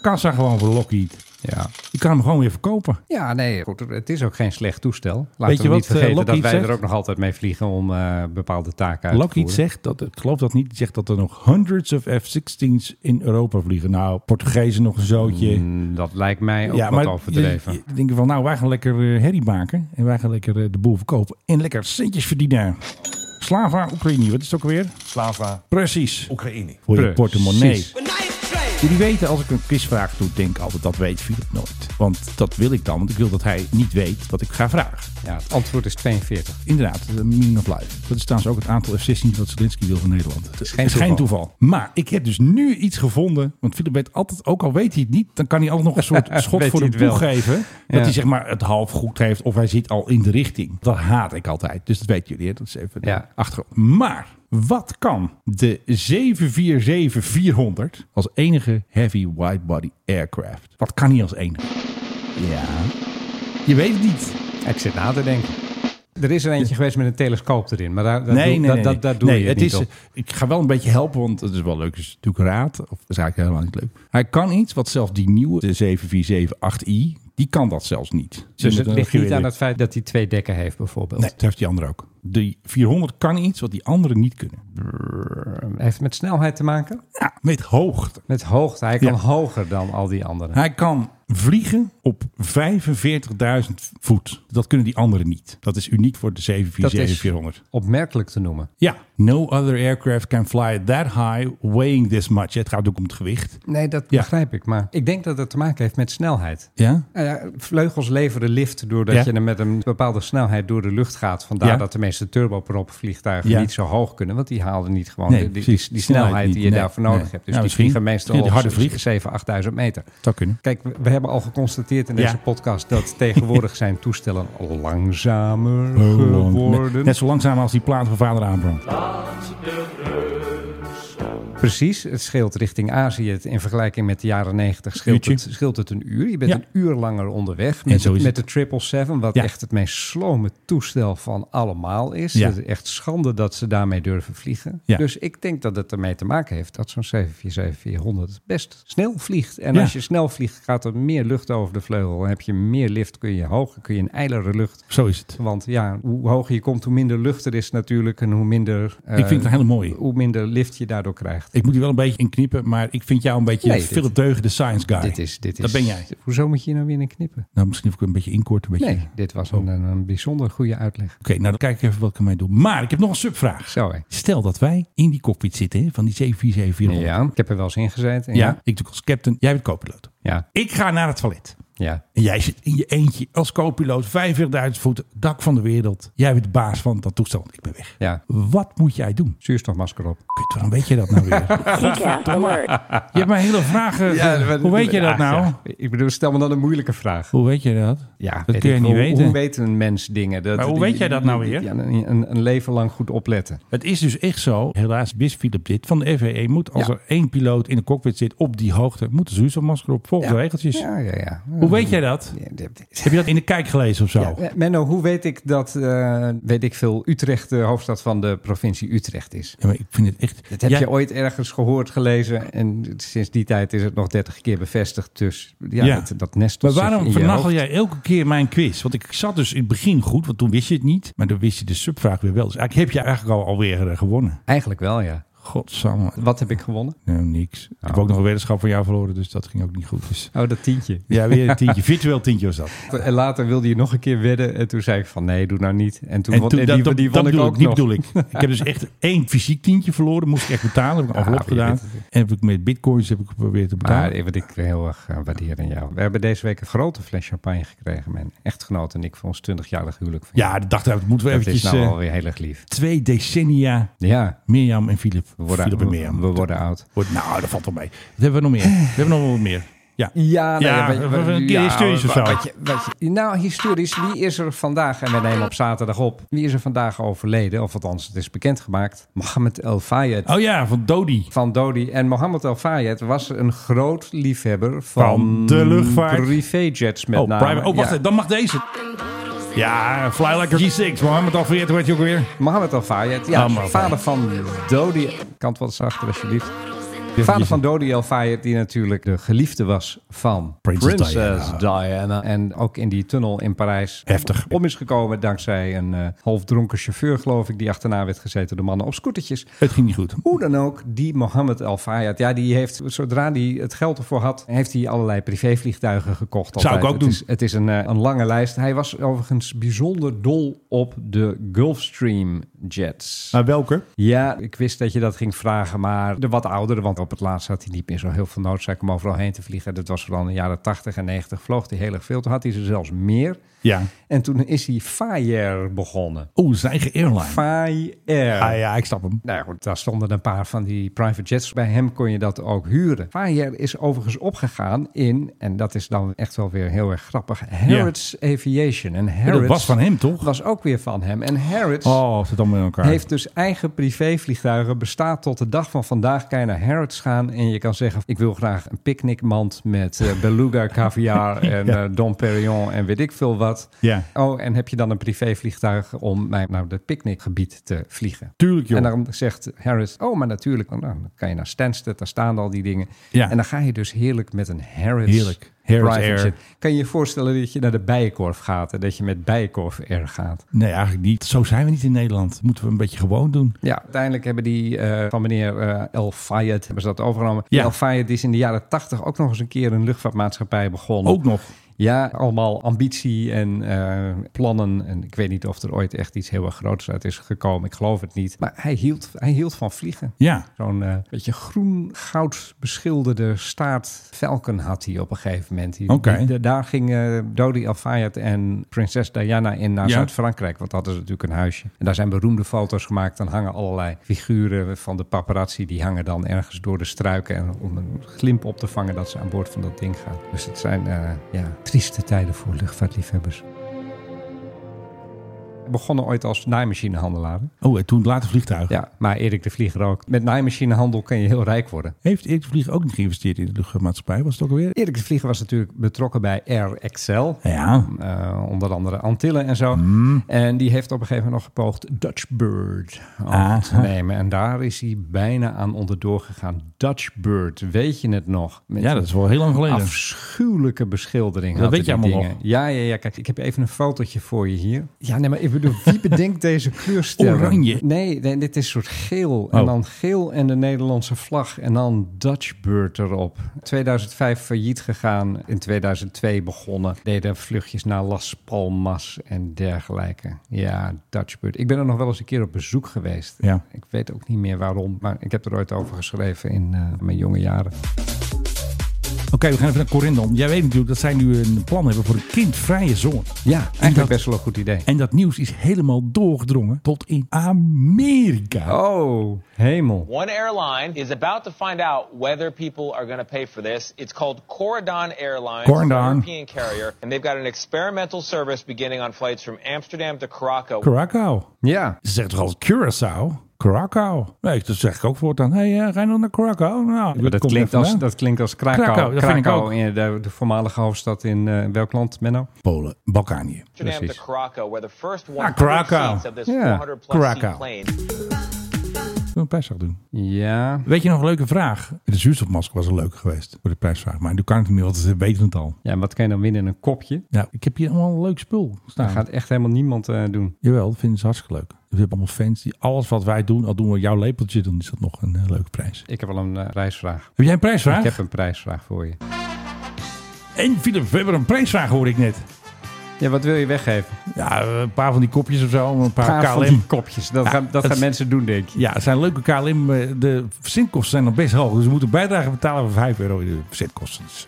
S3: kassa gewoon voor Lockheed.
S2: Ja.
S3: Je kan hem gewoon weer verkopen.
S2: ja, nee, goed, het is ook geen slecht toestel.
S3: Weet
S2: Laten
S3: je
S2: we
S3: wat,
S2: niet
S3: eh,
S2: vergeten dat
S3: Lockheed
S2: wij
S3: zegt?
S2: er ook nog altijd mee vliegen om eh, bepaalde taken uit te
S3: Lockheed
S2: voeren.
S3: zegt, dat, ik geloof dat niet, die zegt dat er nog hundreds of F-16's in Europa vliegen. Nou, Portugezen nog een zootje.
S2: Mm, Dat lijkt mij ook wat overdreven.
S3: je- je- denken van, nou, wij gaan lekker eh, herrie maken. En wij gaan lekker eh, de boel verkopen. En lekker centjes verdienen. Slava Oekraïne, wat is het ook weer?
S11: Slava
S3: Precies.
S11: Oekraïne.
S3: Voor je
S2: Precies.
S3: portemonnee. Jullie weten, als ik een quizvraag doe, denk ik altijd, dat weet Philip nooit. Want dat wil ik dan, want ik wil dat hij niet weet wat ik ga vragen.
S2: Ja, het antwoord is 42.
S3: Inderdaad, de meaning of life. Dat is trouwens ook het aantal F-16 wat Zelensky wil van Nederland. Het is
S2: geen
S3: toeval. Maar ik heb dus nu iets gevonden. Want Philip weet altijd, ook al weet hij het niet, dan kan hij altijd nog een
S2: (laughs)
S3: soort schot
S2: Weet
S3: voor de
S2: hij het
S3: boeg
S2: wel.
S3: geven. Dat
S2: Ja.
S3: hij zeg maar het half goed heeft of hij zit al in de richting. Dat haat ik altijd. Dus dat weten jullie. Hè? Dat is even de
S2: Ja.
S3: achtergrond. Maar wat kan de 747-400 als enige heavy widebody aircraft? Wat kan hij als enige? Ja, je weet het niet.
S2: Ik zit na te denken. Er is er eentje geweest met een telescoop erin, maar daar, daar
S3: nee,
S2: doe,
S3: nee,
S2: dat,
S3: nee, nee.
S2: dat, daar doe
S3: Nee,
S2: je het
S3: het
S2: niet
S3: is,
S2: op.
S3: Ik ga wel een beetje helpen, want het is wel leuk. Het is natuurlijk raad. Of dat is eigenlijk helemaal niet leuk. Hij kan iets wat zelfs die nieuwe de 7478i, die kan dat zelfs niet.
S2: Dus het
S3: Dan
S2: ligt
S3: moet je
S2: niet aan
S3: weer-
S2: het feit dat hij twee dekken heeft, bijvoorbeeld.
S3: Nee, dat heeft die andere ook. De 400 kan iets wat die anderen niet kunnen.
S2: Ehm, Heeft het met snelheid te maken?
S3: Ja, met hoogte.
S2: Met hoogte. Hij kan
S3: Ja.
S2: hoger dan al die anderen.
S3: Hij kan vliegen op 45.000 voet. Dat kunnen die anderen niet. Dat is uniek voor de 747-400.
S2: Opmerkelijk te noemen.
S3: Ja, no other aircraft can fly that high weighing this much. Het gaat ook om het gewicht.
S2: Nee, dat
S3: Ja.
S2: begrijp ik. Maar ik denk dat het te maken heeft met snelheid.
S3: Ja?
S2: Nou ja, vleugels leveren lift doordat
S3: Ja.
S2: je er met een bepaalde snelheid door de lucht gaat. Vandaar
S3: Ja.
S2: dat de meeste turboprop-vliegtuigen
S3: Ja.
S2: niet zo hoog kunnen. Want die halen niet gewoon
S3: Nee,
S2: de- die, die,
S3: precies.
S2: die snelheid
S3: Snelheid
S2: die je
S3: niet.
S2: daarvoor
S3: Nee,
S2: nodig
S3: nee.
S2: hebt. Dus
S3: Nou,
S2: die
S3: misschien.
S2: vliegen meestal
S3: Ja, die harde
S2: op
S3: vliegen.
S2: 7.000, 8.000 meter.
S3: Zou kunnen.
S2: Kijk, we, we hebben al geconstateerd in deze
S3: Ja.
S2: podcast dat tegenwoordig zijn
S3: (laughs)
S2: toestellen
S3: Oh,
S2: langzamer geworden.
S3: Net, net zo langzaam als die plaat van vader Abraham.
S2: Precies, het scheelt richting Azië. Het- In vergelijking met de jaren 90 scheelt, het,
S3: Uurtje.
S2: scheelt het een uur. Je bent
S3: Ja.
S2: een uur langer onderweg met,
S3: zo
S2: het-
S3: is
S2: met de
S3: het.
S2: 777, wat
S3: Ja.
S2: echt het meest slome toestel van allemaal is.
S3: Ja.
S2: Het is echt schande dat ze daarmee durven vliegen.
S3: Ja.
S2: Dus ik denk dat het ermee te maken heeft dat zo'n 747-400 best snel vliegt. En
S3: Ja.
S2: als je snel vliegt, gaat er meer lucht over de vleugel. Dan heb je meer lift, kun je hoger, kun je een eilere lucht.
S3: Zo is het.
S2: Want ja, hoe hoger je komt, hoe minder lucht er is natuurlijk. En hoe minder, eh,
S3: ik vind het een hele mooie.
S2: hoe minder lift je daardoor krijgt.
S3: Ik moet hier wel een beetje in knippen, maar ik vind jou een beetje
S2: Nee, dit-
S3: Philip Deugen, de science guy.
S2: Dit is, dit is,
S3: Dat ben jij.
S2: Hoezo moet je hier nou weer in knippen?
S3: Nou, misschien of ik een beetje inkort. Een beetje...
S2: Nee, dit was een, een, een bijzonder goede uitleg.
S3: Oké, nou dan kijk ik even wat ik ermee doe. Maar ik heb nog een subvraag.
S2: Zo hè.
S3: Stel dat wij in die cockpit zitten hè, van die 747 400
S2: Ja, ik heb er wel eens in gezeten.
S3: Ja,
S2: Ja.
S3: ik doe als captain, jij bent co
S2: Ja.
S3: Ik ga naar het toilet.
S2: ja.
S3: En jij zit in je eentje als co-piloot, 45.000 voet, dak van de wereld. Jij bent de baas van dat toestel. Ik ben weg.
S2: Ja.
S3: Wat moet jij doen?
S2: Zuurstofmasker op.
S3: Kut, waarom weet je
S2: (laughs)
S3: dat nou weer? Godverdomme. Je hebt mijn hele vraag. eh, ge- hoe weet je dat
S2: Ah,
S3: nou?
S2: ja. Ik bedoel, stel me dan een moeilijke vraag.
S3: Hoe weet je dat?
S2: Ja,
S3: dat
S2: weet
S3: kun je
S2: ik
S3: niet
S2: hoe,
S3: weten.
S2: Hoe weet een mens dingen? Dat,
S3: Maar hoe
S2: die-
S3: weet jij dat nou weer?
S2: Ja, een, een- een leven lang goed opletten.
S3: Het is dus echt zo. Helaas wist Philip dit. Van de FAA moet als
S2: Ja.
S3: er één piloot in de cockpit zit op die hoogte, moet de zuurstofmasker op. Volgens de regeltjes.
S2: Ja, ja, ja.
S3: Hoe weet jij dat?
S2: Ja, dit-
S3: Heb je dat in de kijk gelezen of zo?
S2: Ja, eh, Menno, hoe weet ik dat, eh, weet ik veel, Utrecht de hoofdstad van de provincie Utrecht is?
S3: Ja, maar ik vind het echt.
S2: Dat heb
S3: Jij-
S2: je ooit ergens gehoord, gelezen. En sinds die tijd is het nog 30 keer bevestigd. Dus ja,
S3: Ja.
S2: Dat, dat nestelt
S3: Maar
S2: zich in
S3: waarom
S2: je
S3: vernachel
S2: hoofd.
S3: jij elke keer mijn quiz? Want ik zat dus in het begin goed, want toen wist je het niet. Maar dan wist je de subvraag weer wel. Dus eigenlijk heb je eigenlijk al, alweer eh, gewonnen.
S2: Eigenlijk wel, ja.
S3: Godsamme.
S2: Wat heb ik gewonnen?
S3: Nou, niks. Ik heb ook nog een weddenschap van jou verloren, dus dat ging ook niet goed. Dus.
S2: Oh, dat tientje.
S3: Ja, weer een (laughs) tientje. Virtueel tientje was dat.
S2: En later wilde je nog een keer wedden. En toen zei ik van nee, doe nou niet. En toen,
S3: En
S2: won,
S3: toen,
S2: en
S3: dat,
S2: die,
S3: dat,
S2: die
S3: dat
S2: won ik
S3: bedoel
S2: ook
S3: ik, die
S2: nog.
S3: bedoel ik.
S2: (laughs)
S3: Ik heb dus echt één fysiek tientje verloren. Moest ik echt betalen. Heb ik een envelop
S2: je
S3: gedaan.
S2: weet
S3: En heb ik met bitcoins heb ik geprobeerd te betalen.
S2: Maar eh, wat ik heel erg eh, waardeer aan jou. We hebben deze week een grote fles champagne gekregen. Mijn echtgenoot en ik voor ons 20-jarig huwelijk. Van
S3: ja, de dag daarna moeten we
S2: jou. dat is
S3: eventjes...
S2: nou
S3: eh,
S2: alweer heel erg lief.
S3: twee decennia
S2: Ja,
S3: Mirjam en Filip.
S2: we worden,
S3: Filip en Mirjam.
S2: we, we worden oud.
S3: Wordt- nou, dat valt wel mee. Wat hebben we nog
S2: (sighs)
S3: meer? We hebben nog wel wat meer. Ja.
S2: Ja, nou
S3: Ja,
S2: wat- wat-
S3: een keer historisch of
S2: wat-
S3: zo.
S2: wat je- wat je- nou, historisch, wie is er vandaag, en we nemen op zaterdag op, wie is er vandaag overleden, of althans, het is bekendgemaakt, Mohammed El Fayed
S3: Oh ja, van Dodi.
S2: van Dodi. En Mohammed El Fayed was een groot liefhebber van,
S3: Van de luchtvaart.
S2: privéjets met
S3: oh,
S2: name.
S3: private. oh, wacht,
S2: Ja.
S3: dan mag deze. Ja, Fly Like a G6. Mohammed Alfred, hoe heet je ook weer?
S2: Mohammed El Fayed, ja,
S3: Ah, maar-
S2: vader van Dodi. Kant wat zachter, alsjeblieft. Vader van Dodi El Fayed, die natuurlijk de geliefde was van
S3: Princess
S2: Diana. En ook in die tunnel in Parijs
S3: Heftig.
S2: om is gekomen dankzij een eh halfdronken chauffeur, geloof ik, die achterna werd gezeten door mannen op scootertjes.
S3: Het ging niet goed.
S2: Hoe dan ook, die Mohammed El Fayed, ja, die heeft, zodra hij het geld ervoor had, heeft hij allerlei privévliegtuigen gekocht.
S3: Zou ik ook
S2: het
S3: doen.
S2: Is, het is een, eh, een lange lijst. Hij was overigens bijzonder dol op de Gulfstream jets.
S3: Maar welke?
S2: Ja, ik wist dat je dat ging vragen, maar de wat oudere, want op het laatst had hij niet meer zo heel veel noodzaak om overal heen te vliegen. Dat was vooral in de jaren 80 en 90 vloog hij heel erg veel. Toen had hij ze zelfs meer.
S3: Ja.
S2: En toen is hij Fire begonnen.
S3: Oeh, zijn eigen airline.
S2: Fire.
S3: Ah ja, ik snap hem.
S2: Nou ja, goed, daar stonden een paar van die private jets. Bij hem kon je dat ook huren. Fire is overigens opgegaan in, en dat is dan echt wel weer heel erg grappig, Harrods Aviation. En Harrods
S3: Dat was van hem, toch?
S2: was ook weer van hem. En Harrods
S3: Oh, zit allemaal in elkaar.
S2: heeft dus eigen privévliegtuigen. Bestaat tot de dag van vandaag. Kan je naar Harrods gaan en je kan zeggen... ik wil graag een picknickmand met
S3: (laughs)
S2: eh, beluga caviar en eh Dom Perignon en weet ik veel wat.
S3: Ja.
S2: Oh, en heb je dan een privévliegtuig om mij naar het picknickgebied te vliegen?
S3: Tuurlijk, joh.
S2: En dan zegt Harrods, oh, maar natuurlijk. Nou, dan kan je naar Stansted, daar staan al die dingen.
S3: Ja.
S2: En dan ga je dus heerlijk met een Harrods...
S3: Heerlijk. Harrods
S2: private
S3: Air.
S2: jet. Kan je je voorstellen dat je naar de Bijenkorf gaat... en dat je met Bijenkorf Air gaat?
S3: Nee, eigenlijk niet. Zo zijn we niet in Nederland. Moeten we een beetje gewoon doen.
S2: Ja, uiteindelijk hebben die eh, van meneer eh El Fayed hebben ze dat overgenomen.
S3: Ja. Oh.
S2: El Fayed is in de jaren tachtig ook nog eens een keer een luchtvaartmaatschappij begonnen.
S3: Ook nog.
S2: Ja, allemaal ambitie en eh, plannen. En ik weet niet of er ooit echt iets heel erg groots uit is gekomen. Ik geloof het niet. Maar hij hield, hij hield van vliegen.
S3: Ja.
S2: Zo'n eh, beetje groen-goud beschilderde staart Falcon had hij op een gegeven moment. Die-
S3: Oké.
S2: die- de- daar gingen Dodi Al-Fayed en prinses Diana in naar
S3: Ja.
S2: Zuid-Frankrijk. Want dat is natuurlijk een huisje. En daar zijn beroemde foto's gemaakt. Dan hangen allerlei figuren van de paparazzi. Die hangen dan ergens door de struiken. En om een glimp op te vangen dat ze aan boord van dat ding gaan. Dus het zijn eh, ja, trieste tijden voor luchtvaartliefhebbers. We Begonnen ooit als naaimachinehandelaren.
S3: Oh, en toen later vliegtuig.
S2: Ja, maar Erik de Vlieger ook. Met naaimachinehandel kan je heel rijk worden.
S3: Heeft Erik de Vlieger ook niet geïnvesteerd in de luchtvaartmaatschappij? Was het ook alweer?
S2: Erik de Vlieger was natuurlijk betrokken bij Air Excel.
S3: Ja.
S2: Eh, onder andere Antillen en zo.
S3: Hmm.
S2: En die heeft op een gegeven moment nog gepoogd Dutch Bird over
S3: Aha.
S2: te nemen. En daar is hij bijna aan onderdoor gegaan. Dutch Bird, weet je het nog? Met
S3: Ja, dat is wel heel lang geleden.
S2: Afschuwelijke beschildering.
S3: Dat
S2: hadden
S3: weet je
S2: die
S3: allemaal
S2: dingen. Ja, ja, ja. Kijk, ik heb even een fotootje voor je hier. Ja, nee, maar ik bedoel, (laughs) wie bedenkt deze kleurstelling?
S3: Oranje.
S2: Nee, nee, dit is soort geel. En
S3: Oh.
S2: dan geel en de Nederlandse vlag. En dan Dutch Bird erop. 2005 failliet gegaan. In 2002 begonnen. Deden vluchtjes naar Las Palmas en dergelijke. Ja, Dutch Bird. Ik ben er nog wel eens een keer op bezoek geweest.
S3: Ja.
S2: Ik weet ook niet meer waarom. Maar ik heb er ooit over geschreven in eh, mijn jonge jaren.
S3: Oké, we gaan even naar Corinne dan. Jij weet natuurlijk dat zij nu een plan hebben voor een kindvrije zone.
S2: Ja, eigenlijk best wel een goed idee.
S3: En dat nieuws is helemaal doorgedrongen tot in Amerika.
S2: Oh, hemel.
S7: One airline is about to find out whether people are going to pay for this. It's called Corridon Airlines,
S3: Corridon.
S7: a European carrier, and they've got an experimental service beginning on flights from Amsterdam to Krakow.
S3: Curaçao.
S2: Ja,
S3: Ze zegt toch al Curaçao? Curaçao. Nee, dat zeg ik ook voortaan. Hé, hey, eh, ga je nog naar Curaçao? Nou,
S2: maar dat,
S3: komt
S2: klinkt
S3: even
S2: als,
S3: na.
S2: dat klinkt als Krakau.
S3: Krakau, dat vind ik ook.
S2: in de, de voormalige hoofdstad in eh, welk land, Menno?
S3: Polen, Balkanië.
S7: Amsterdam
S2: precies.
S7: to Krakow, where the first
S3: Ah,
S7: 100
S3: Krakow.
S7: seats of this
S2: Yeah.
S7: 400 plus seat
S3: Krakow.
S7: plane
S3: Kunnen we een prijsvraag doen?
S2: Ja.
S3: Weet je nog een leuke vraag? De zuurstofmasker was een leuke geweest voor de prijsvraag. Maar nu kan ik het niet meer, want ze weten het al.
S2: Ja, en wat kan je dan winnen? Een kopje?
S3: Nou, ik heb hier allemaal een leuk spul
S2: Dat
S3: staan.
S2: gaat echt helemaal niemand eh, doen.
S3: Jawel, dat vinden ze hartstikke leuk. Dus We hebben allemaal fans die alles wat wij doen, al doen we jouw lepeltje, dan is dat nog een eh, leuke prijs.
S2: Ik heb wel een eh, prijsvraag.
S3: Heb jij een prijsvraag?
S2: Ik heb een prijsvraag voor je.
S3: En Philip, we hebben een prijsvraag, hoor ik net.
S2: Ja, wat wil je weggeven?
S3: Ja, een paar van die kopjes of zo, een paar
S2: Paar van
S3: KLM.
S2: die kopjes. Dat,
S3: Ja,
S2: gaan, dat
S3: het-
S2: gaan mensen doen, denk je.
S3: Ja, het zijn leuke KLM. eh, De verzendkosten zijn nog best hoog. Dus we moeten bijdrage betalen van 5 euro in de verzendkosten. Dus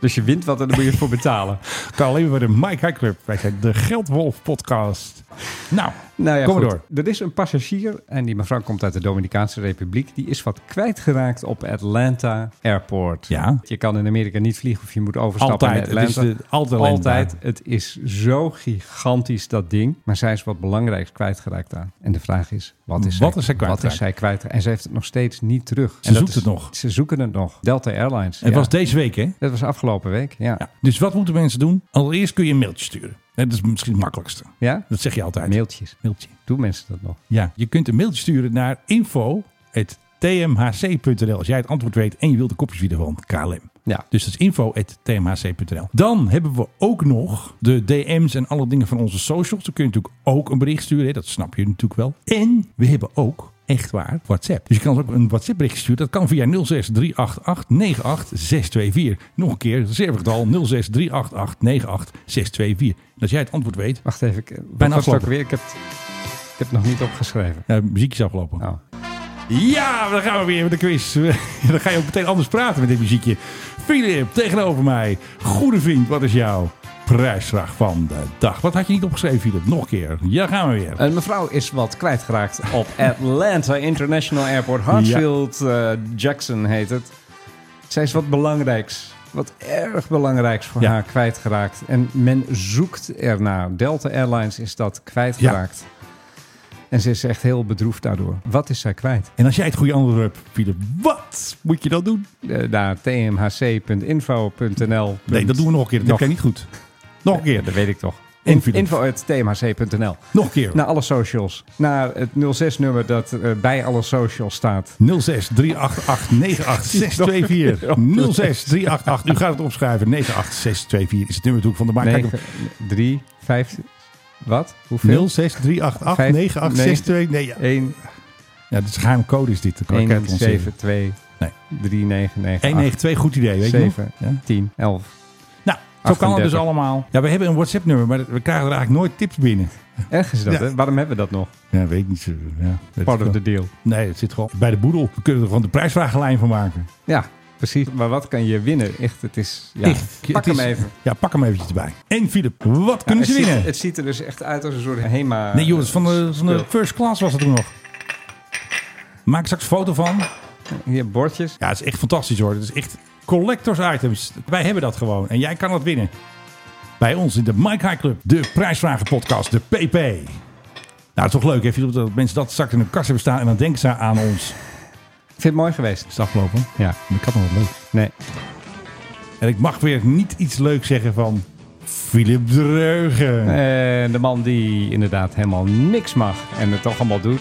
S2: Dus je wint wat en dan moet je het voor betalen.
S3: KLM bij de Mike High Club. Wij zijn de Geldwolf podcast. Nou,
S2: Nou ja,
S3: kom maar
S2: goed.
S3: door.
S2: Er is een passagier en die mevrouw komt uit de Dominicaanse Republiek. Die is wat kwijtgeraakt op Atlanta Airport.
S3: Ja.
S2: Je kan in Amerika niet vliegen of je moet overstappen
S3: Altijd.
S2: naar Atlanta.
S3: Het is de- altijd Atlanta.
S2: Altijd. Het is zo gigantisch dat ding. Maar zij is wat belangrijks kwijtgeraakt daar. En de vraag is, wat is
S3: Wat
S2: zij,
S3: is zij kwijtgeraakt?
S2: Wat is zij kwijtgeraakt? En ze heeft het nog steeds niet terug. Ze
S3: zoekt het nog.
S2: Ze zoeken het nog. Delta Airlines.
S3: het
S2: ja.
S3: was deze week, hè?
S2: Dat was afgelopen week, ja.
S3: Ja. Dus wat moeten mensen doen? Allereerst kun je een mailtje sturen. Hè, Dat is misschien het makkelijkste.
S2: Ja?
S3: Dat zeg je altijd.
S2: Mailtjes.
S3: Mailtje.
S2: Doen mensen dat nog?
S3: Ja, je kunt een mailtje sturen naar info.tmhc.nl als jij het antwoord weet en je wilt de kopjes weer van KLM.
S2: Ja.
S3: Dus dat is info.tmhc.nl. Dan hebben we ook nog de DM's en alle dingen van onze socials. Dan kun je natuurlijk ook een bericht sturen. Hè? Dat snap je natuurlijk wel. En we hebben ook echt waar WhatsApp. Dus je kan ons ook een WhatsApp berichtje sturen. Dat kan via 06388 98624. Nog een keer, dat is even het al. 06388 98624. En als jij het antwoord weet,
S2: Wacht even. ik- Wat
S3: Bijna
S2: was het ook
S3: afgelopen.
S2: weer? Ik heb, het- ik heb het nog niet opgeschreven.
S3: eh muziekjes aflopen.
S2: Oh.
S3: Ja, dan gaan we weer met de quiz. (laughs) dan ga je ook meteen anders praten met dit muziekje. Filip, tegenover mij. Goede vriend, wat is jouw prijsvraag van de dag? Wat had je niet opgeschreven, Filip? Nog een keer. Ja, gaan we weer.
S2: Een mevrouw is wat kwijtgeraakt (laughs) op Atlanta International Airport. Hartsfield eh, Jackson heet het. Zij is wat belangrijks, wat erg belangrijks voor
S3: Ja.
S2: haar kwijtgeraakt. En men zoekt ernaar. Delta Airlines is dat kwijtgeraakt. En ze is echt heel bedroefd daardoor. Wat is zij kwijt?
S3: En als jij het goede antwoord hebt, Filip, wat moet je dan doen?
S2: Eh, naar tmhc.info.nl.
S3: Nee, dat doen we nog een keer. Dat
S2: Nog. Eh,
S3: heb jij niet goed. Nog een keer.
S2: Dat weet ik toch.
S3: En Philip.
S2: Info.tmhc.nl.
S3: Nog een keer.
S2: Naar alle socials. Naar het 06-nummer dat eh, bij alle socials staat.
S3: 06 388 98624. 06 388. U gaat het opschrijven. 98624 is het nummer natuurlijk van de maak.
S2: 9, 3, 5, wat? Hoeveel?
S3: 06 388
S2: Vijf-
S3: 98624. Nee, ja.
S2: 1,
S3: Ja, dat is een geheim code is dit. Dan kan ik het
S2: 1,
S3: ons zeggen.
S2: 7, 2,
S3: Nee.
S2: 3, 9, 9, 8,
S3: 192, goed idee, weet je nog?
S2: 7,
S3: Ja.
S2: 10, 11.
S3: Nou, Zo kan het dus allemaal. Ja, we hebben een WhatsApp-nummer, maar we krijgen er eigenlijk nooit tips binnen.
S2: Erg is dat,
S3: Ja.
S2: hè? Waarom hebben we dat nog?
S3: Ja, weet ik niet. zo- Ja, weet
S2: Part
S3: ik
S2: of the
S3: wel.
S2: deal.
S3: Nee, het zit gewoon bij de boedel. We kunnen er gewoon de prijsvragenlijn van maken.
S2: Ja, precies. Maar wat kan je winnen? Echt, het is... Ja.
S3: Echt,
S2: Pak
S3: het is-
S2: hem even.
S3: Ja, pak hem eventjes erbij. En Filip, wat kunnen
S2: Ja,
S3: ze
S2: het
S3: winnen?
S2: Ziet, het ziet er dus echt uit als een soort HEMA...
S3: nee, jongens, van de, van de
S2: spul.
S3: first class was het toen nog. Maak straks een foto van.
S2: Hier, bordjes.
S3: Ja, het is echt fantastisch hoor. Het is echt collectors items. Wij hebben dat gewoon. En jij kan dat winnen. Bij ons in de Mike High Club. De prijsvragen podcast. De PP. Nou, het is toch leuk hè, Filip, dat mensen dat straks in hun kast hebben staan. En dan denken ze aan ons.
S2: Ik vind het mooi geweest.
S3: Is het afgelopen?
S2: Ja.
S3: Ik had nog wat leuk.
S2: Nee.
S3: En ik mag weer niet iets leuks zeggen van... Filip Dreugen.
S2: En de man die inderdaad helemaal niks mag en het toch allemaal doet.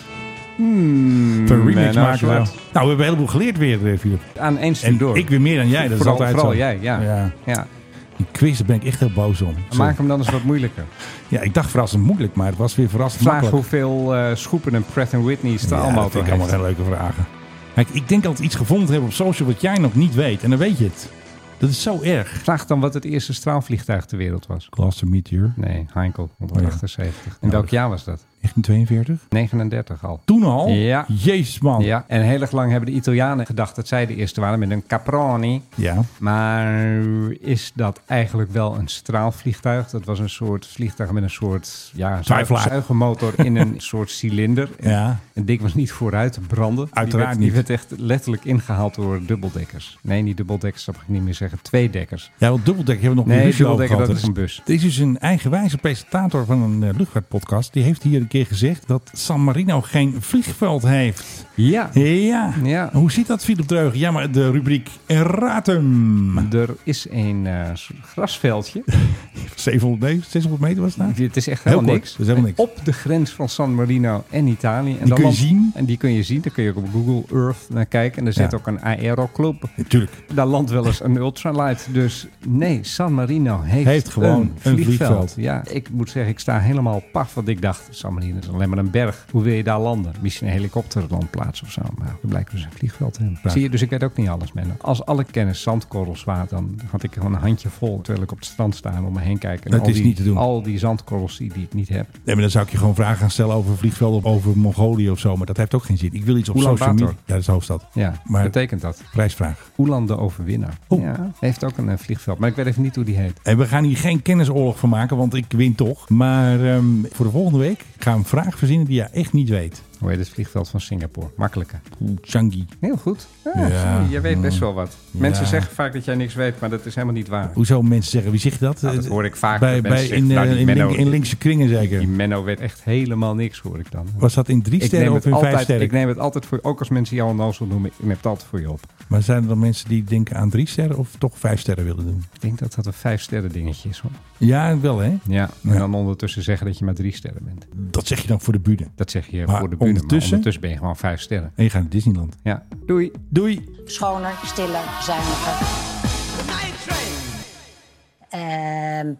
S2: Hmm,
S3: Een remix
S2: en nou,
S3: maken we. Nou,
S2: zwart.
S3: we hebben een heleboel geleerd weer, eh, Filip.
S2: Aan één
S3: En
S2: stuk door.
S3: ik weer meer dan jij. Dat
S2: vooral,
S3: is altijd
S2: vooral
S3: zo.
S2: jij, ja. ja.
S3: ja. Die quiz, daar ben ik echt heel boos om. Sorry.
S2: Maak hem dan eens wat moeilijker.
S3: Ja, ik dacht verrassend moeilijk, maar het was weer verrassend
S2: Vraag
S3: makkelijk.
S2: hoeveel eh, schoepen en Pratt Whitney's er
S3: Ja,
S2: allemaal
S3: dat vind
S2: toch
S3: ik allemaal
S2: heeft.
S3: geen leuke vragen. Kijk, ik denk dat we iets gevonden hebben op social wat jij nog niet weet. En dan weet je het. Dat is zo erg.
S2: Vraag dan wat het eerste straalvliegtuig ter wereld was.
S3: Klasse Meteor.
S2: Nee, Heinkel,
S3: Oh, ja.
S2: 1978. In welk jaar was dat?
S3: 1942.
S2: 39 al.
S3: Toen al?
S2: Ja.
S3: Jezus man.
S2: Ja, en heel erg lang hebben de Italianen gedacht dat zij de eerste waren met een Caproni.
S3: Ja.
S2: Maar is dat eigenlijk wel een straalvliegtuig? Dat was een soort vliegtuig met een soort ja,
S3: Twijfelaar.
S2: zuigenmotor in
S3: (laughs)
S2: een soort cilinder. En,
S3: Ja.
S2: en dik was niet vooruit te branden.
S3: Uiteraard
S2: die werd,
S3: niet.
S2: Die werd echt letterlijk ingehaald door dubbeldekkers. Nee, niet dubbeldekkers, dat mag ik niet meer zeggen. Tweedekkers.
S3: Ja, want dubbeldekker hebben we nog
S2: Nee,
S3: niet
S2: dubbeldekker, dat is een bus.
S3: Er is dus een eigenwijze presentator van een eh, luchtvaartpodcast. Die heeft hier een keer gezegd dat San Marino geen vliegveld heeft.
S2: Ja,
S3: Ja.
S2: Ja.
S3: Hoe zit dat, Philip Dreugen? Ja, maar de rubriek Erratum.
S2: er is een eh, soort grasveldje.
S3: 700, nee, 600 meter was het nou?
S2: Het is echt helemaal
S3: kort,
S2: niks.
S3: dat is helemaal niks.
S2: Op de grens van San Marino en Italië. En
S3: kun je zien.
S2: En die kun je zien. Daar kun je ook op Google Earth naar kijken. En er zit
S3: Ja.
S2: ook een aeroclub.
S3: Natuurlijk.
S2: Daar landt wel eens een ultralight. Dus nee, San Marino heeft,
S3: Heeft gewoon een vliegveld.
S2: Ja, ik moet zeggen, ik sta helemaal paf. Want ik dacht, San Marino is alleen maar een berg. Hoe wil je daar landen? Misschien een helikopterlandplaats of zo. Maar er blijkt dus een vliegveld te hebben. Zie je, dus ik weet ook niet alles, Menno. Als alle kennis zandkorrels waren, dan had ik gewoon een handje vol. Terwijl ik op het strand sta en om me heen kijk. En
S3: Dat
S2: al
S3: is
S2: die,
S3: niet te doen.
S2: Al die zandkorrels die, die ik niet heb.
S3: Nee, maar dan zou ik je gewoon vragen gaan stellen over vliegvelden of over Mongolië of zo. Maar dat heeft ook geen zin. Ik wil iets op
S2: Ulaanbaatar.
S3: social media. Ja, dat is de hoofdstad.
S2: Ja,
S3: Maar-
S2: betekent dat.
S3: Prijsvraag.
S2: Oeland de overwinnaar.
S3: Oeh.
S2: Ja, heeft ook een eh, vliegveld. Maar ik weet even niet hoe die heet.
S3: En we gaan hier geen kennisoorlog van maken, want ik win toch. Maar ehm, voor de volgende week gaan we een vraag verzinnen die jij echt niet weet.
S2: Hoe heet het vliegveld van Singapore? Makkelijker.
S3: Oeh, Changi.
S2: Heel goed. Ja,
S3: Ja. Mm.
S2: zie je, Jij weet best wel wat. Mensen
S3: Ja.
S2: zeggen vaak dat jij niks weet, maar dat is helemaal niet waar.
S3: Hoezo mensen zeggen, wie zegt dat?
S2: Nou, dat hoor ik vaak,
S3: Bij,
S2: dat
S3: bij,
S2: mensen
S3: in,
S2: zeggen, nou,
S3: eh,
S2: die
S3: in,
S2: Menno-
S3: link- in linkse kringen
S2: Die
S3: zeker.
S2: Menno weet echt helemaal niks, hoor ik dan.
S3: Was dat in drie
S2: Ik
S3: sterren
S2: neem,
S3: of
S2: het
S3: in vijf
S2: altijd,
S3: sterren?
S2: ik neem het altijd voor, ook als mensen jou een nozel noemen, ik neem het altijd voor je op.
S3: Maar zijn er dan mensen die denken aan drie sterren of toch vijf sterren willen doen?
S2: Ik denk dat dat een vijf sterren dingetje is hoor.
S3: Ja, wel hè?
S2: Ja, en
S3: Ja.
S2: dan ondertussen zeggen dat je maar drie sterren bent.
S3: Dat zeg je dan voor de buren.
S2: Dat zeg je
S3: Maar
S2: voor de bühne, maar
S3: ondertussen?
S2: ondertussen ben je gewoon vijf sterren.
S3: En je gaat naar Disneyland.
S2: Ja, doei.
S3: Doei!
S1: Schoner, stiller, zuiniger. Ehm